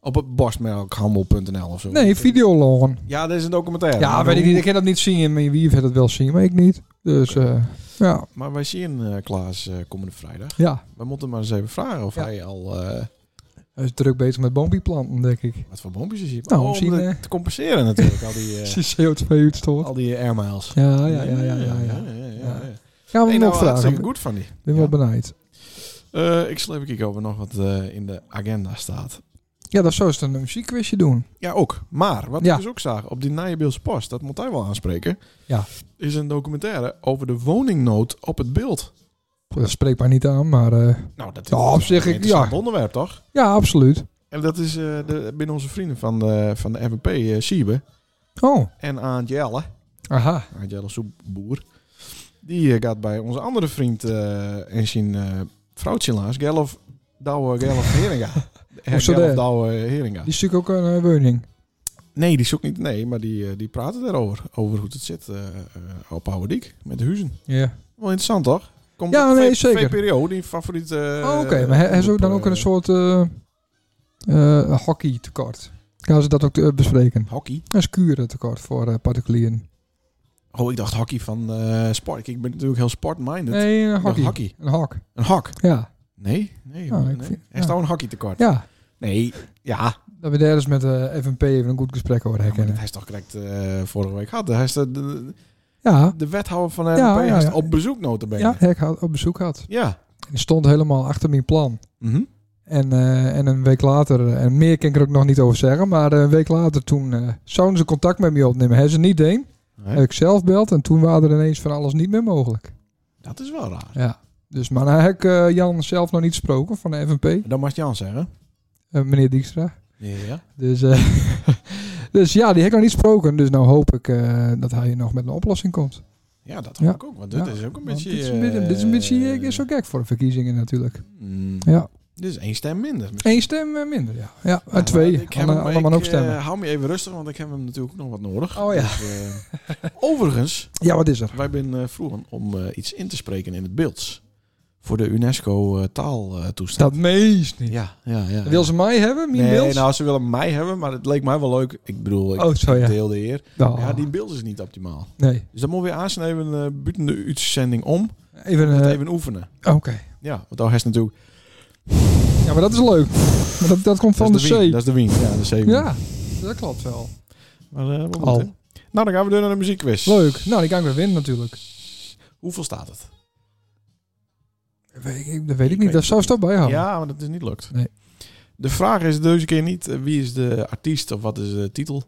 Op het borstmelkhandel.nl of zo. Nee, videologen. Ja, dat is een documentaire. Ja, Maar weet ik hoe- niet. Ik kan dat niet zien. Mijn wie heeft dat wel zien, maar ik niet. Dus eh, ja. Maar wij zien eh, Klaas eh, komende vrijdag. ja. We moeten maar eens even vragen of Ja. hij al eh, Hij is druk bezig met boomplanten, denk ik. wat voor boompjes is ziet. Nou, om misschien, dat eh. te compenseren natuurlijk, al die, eh, Precies CO2-uitstoot. al die air miles. Ja, ja, ja, ja, ja, ja, ja. ja, ja, Ja. ja. Gaan Nee, we hem nou, nog vragen? hartstikke Ik goed van die. ben Ja. wel benijd. Eh, ik zal even kijken of er nog wat eh, in de agenda staat. Ja, dat zou eens een muziekquizje doen. Ja, ook. Maar wat Ja. ik dus ook zag op die Nijenbeelds Post, dat moet hij wel aanspreken, Ja. is een documentaire over de woningnood op het beeld. Goed, Dat spreekt mij niet aan, maar eh, Nou, dat is Ja, op wel zich, ik- een interessant ja. onderwerp, toch? ja, absoluut. En dat is eh, de, binnen onze vrienden van de, van de FNP, eh Siebe Oh, en Aant Jelle. aha. Aant Jelle Soepboer. Die eh, gaat bij onze andere vriend eh, en zijn eh vrouwtje laatst, Gellof Douwe Gellof Heringa. Hoe zo Gellof dat? Douwe Heringa. Die is natuurlijk ook een eh, woning. Nee, die zoekt niet. Nee, maar die, eh, die praten daarover. Over hoe het zit eh, eh, op Oude Diek met de huizen. Ja. Wel interessant, toch? Komt Ja, op nee, V- zeker. VPRO, die favoriete... eh, Oh, Oké, maar hij, hij is ook groep, dan ook eh, een soort eh eh hockey tekort. Gaan ze dat ook eh, bespreken? Hockey. Een skuren tekort voor eh, particulieren. Oh, ik dacht hockey van eh, sport. Ik ben natuurlijk heel sportminded. Nee, een Ik dacht hockey. hockey. Een hak. Een hak. Ja, Nee, nee. Ja, hoor, Ah, ik nee. vind- Er ja. is nou een hockey tekort. ja. Nee, ja. Dat we daar eens met eh FNP even een goed gesprek over Ja, maar dat herkennen. hij is toch correct eh, vorige week gehad. Hij is de, de, Ja, de wethouder van de Ja, RP ja, ja. op bezoek notabene. ja, ik had op bezoek had. Ja. En die stond helemaal achter mijn plan. Mhm. En, eh, en een week later, eh, en meer kan ik er ook nog niet over zeggen, maar eh, een week later toen eh, zouden ze contact met me opnemen. Hebben ze niet deed. Nee, Heb ik zelf beld en toen waren er ineens van alles niet meer mogelijk. Dat is wel raar. Ja. Dus, maar nou heb ik eh, Jan zelf nog niet gesproken van de FNP, eh, Dat mag Jan zeggen. meneer Dijkstra. Ja. Dus, eh, dus ja, die heb ik nog niet gesproken. Dus nou hoop ik eh, dat hij nog met een oplossing komt. Ja, dat Ja. hoop ik ook. Want dit Ja, is ook een Want beetje... dit is een beetje, dit is een beetje eh, is zo gek voor de verkiezingen natuurlijk. Hmm. Ja. Dit is één stem minder. Eén stem eh, minder, ja. Ja, en Ja, twee. maar ik heb hem- Alle- allemaal ik, ook stemmen. eh, hou me even rustig, want ik heb hem natuurlijk ook nog wat nodig. Oh ja. Dus, eh, overigens, ja, wat is er? wij zijn eh vroegen om eh, iets in te spreken in het beeld. Voor de UNESCO eh taaltoestand. Dat meest niet. ja, ja, ja. Wil ze mij hebben? Mien nee, Wils? nou, ze willen mij hebben, maar het leek mij wel leuk. Ik bedoel, ik oh, zo ja. deel de eer. Nou, Ja, die beeld is niet optimaal. Nee. Dus dan moet we weer aansnijden eh, buiten de uitzending om. Even, eh, even oefenen. Oké. Ja, want daar is natuurlijk... Ja, maar dat is leuk. Maar dat, dat komt van dat de, is wien, zee. Dat is de wien. Ja, de zee. Ja, dat klopt wel. Maar, eh, wat Al. moet, hè? Nou, dan gaan we door naar de muziekquiz. Leuk. Nou, die kan ik weer winnen natuurlijk. Hoeveel staat het? Weet ik, dat weet weet ik niet. Dat het zou ze toch bijhouden. Ja, maar dat is niet lukt. Oh. Nee. De vraag is deze keer niet eh, wie is de artiest of wat is de titel,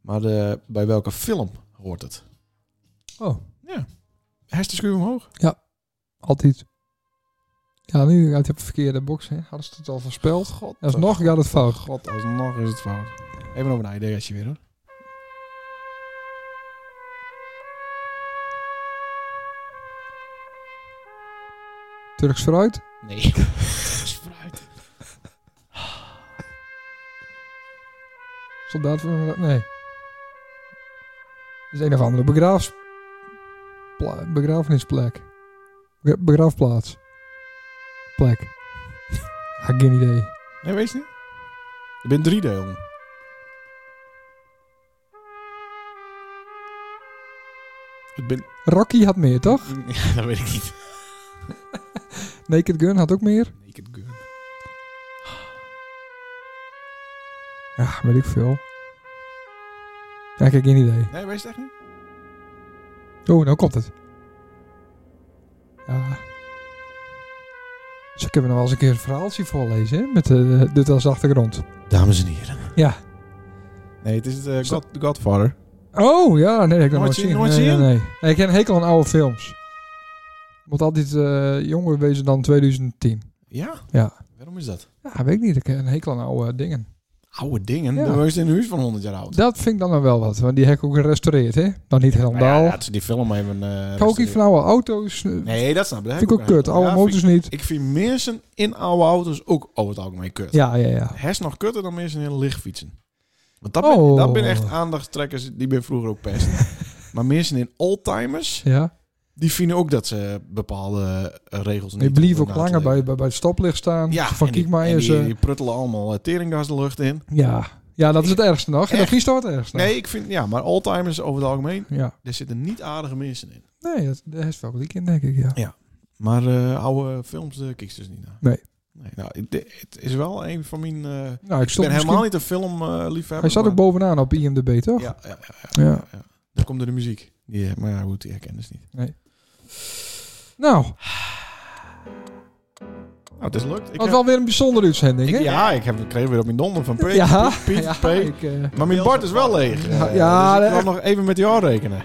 maar de, bij welke film hoort het. Oh. Ja. Hester schuur omhoog. Altijd. Ja, nu gaat het op de verkeerde box. Hè. Hadden ze het al voorspeld. God. Alsnog gaat het fout. God, alsnog is het fout. Even over een idee weer hoor. Turks fruit. Nee. Soldaat van... Nee. Dat is een of andere begraafs... pla- begrafenisplek. Be- begraafplaats. Plek. Ja, geen idee. nee, weet je niet? Je bent drie delen. Het ben... Rocky had meer, toch? Ja, dat weet ik niet. Naked Gun had ook meer. Naked Gun. Ja, weet ik veel. Ja, ik heb geen idee. Nee, weet je het echt niet? Oh, nou komt het. Ja. Dus ik heb er nog wel eens een keer een verhaaltje voorlezen, hè? Met eh, dit als achtergrond. Dames en heren. Ja. Nee, het is eh, God, Godfather. Oh, ja, nee, dat heb ik nog nooit Nooit zien, zien. nooit nee, zien? Nee, nee. Nee, ik heb een hekel aan oude films. Moet altijd eh, jonger wezen dan 2010. Ja? Ja. Waarom is dat? Ja, weet ik niet. Ik heb een hekel aan oude dingen. Oude dingen. Ja. Dan was je in een huis van 100 jaar oud. Dat vind ik dan wel wel wat, want die heb ik ook gerestaureerd, hè? Dan niet Nou helemaal. ja, dat is die film even... eh ik hou ook niet van oude auto's. eh, Nee, dat snap ik. Dat heb vind ik ook een kut. hekel aan. Oude Ja, motors vind niet. Ik, ik vind mensen in oude auto's ook over het algemeen kut. Ja, ja, ja. Hes nog kutter dan mensen in lichtfietsen. Want dat, ben, Oh. dat ben echt aandachtstrekkers, die ben vroeger ook pest. maar mensen in oldtimers, Ja. die vinden ook dat ze bepaalde eh, regels niet Ik blijf hoeven ook na te langer bij, leven. bij, bij het stoplicht staan. van en die- kijk maar en eens. Die, eh, die pruttelen allemaal eh, teringgas de lucht in. ja. ja, dat is het ergste nog. En Echt? dat is toch het ergste. nog. Nee, ik vind, ja, maar oldtimers over het algemeen, Ja. daar zitten niet aardige mensen in. Nee, dat, dat is wel gelijk in, denk ik. Ja. Maar eh, oude films eh, kijk ik dus niet naar. Nee. nee nou, het, het is wel een van mijn... eh, Nou, ik ik stond ben helemaal misschien- niet een filmliefhebber. liefhebber. Hij zat ook bovenaan op IMDb, toch? Ja, ja, ja, ja, Ja. ja, ja. Dan komt er de muziek. Die, eh, maar ja, goed, die herkennen ze niet. Nou, Nou, het is lukt. Ik was heb- wel weer een bijzondere uitzending, hè? ik- ja, ik heb, ik kreeg weer op mijn donder van Piet, Ja. Piet, Ja, Piet. ik, eh, Maar mijn bord is wel leeg. Ja, eh, ja, dus ik dat- kan nog even met jou rekenen.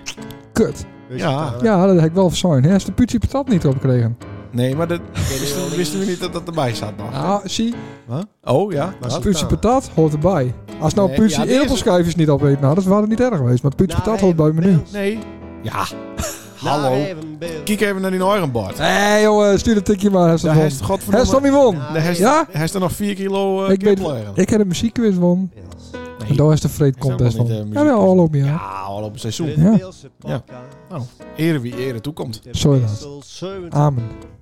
kut. Ja. Ja, dat heb ik wel verzonnen. Hij heeft de putje patat niet opgekregen. Nee, maar dat wisten, wisten we niet dat dat erbij zat nog. Ah, zie, Huh? Oh ja. Maar Wat? ze- putje patat hoort erbij. Als nou Nee, putje ja, die is- Nou, eelpelschijfjes niet op weet, nou, dat waren niet erg geweest. Maar het putje patat hoort bij het menu. Nee. Ja. Hallo. Kijk even naar die eigen bord. Hé jongen, stuur een tikje maar. Daar Hij heeft is het Hij is godverdomme... Tommy won. Ja. Daar heeft- Ja? Hij is er nog 4 kilo eh Ik weet- kip liggen. Ik heb een muziekquiz won. En daar is de vreed Is helemaal contest van. niet, eh, Ja, muziekquiz. wel, al op ja. Ja, al op een seizoen. Ja. Ah, Beelse podcast. Ere wie ere toekomt. De Zo Beelse Zeeuwen. Amen.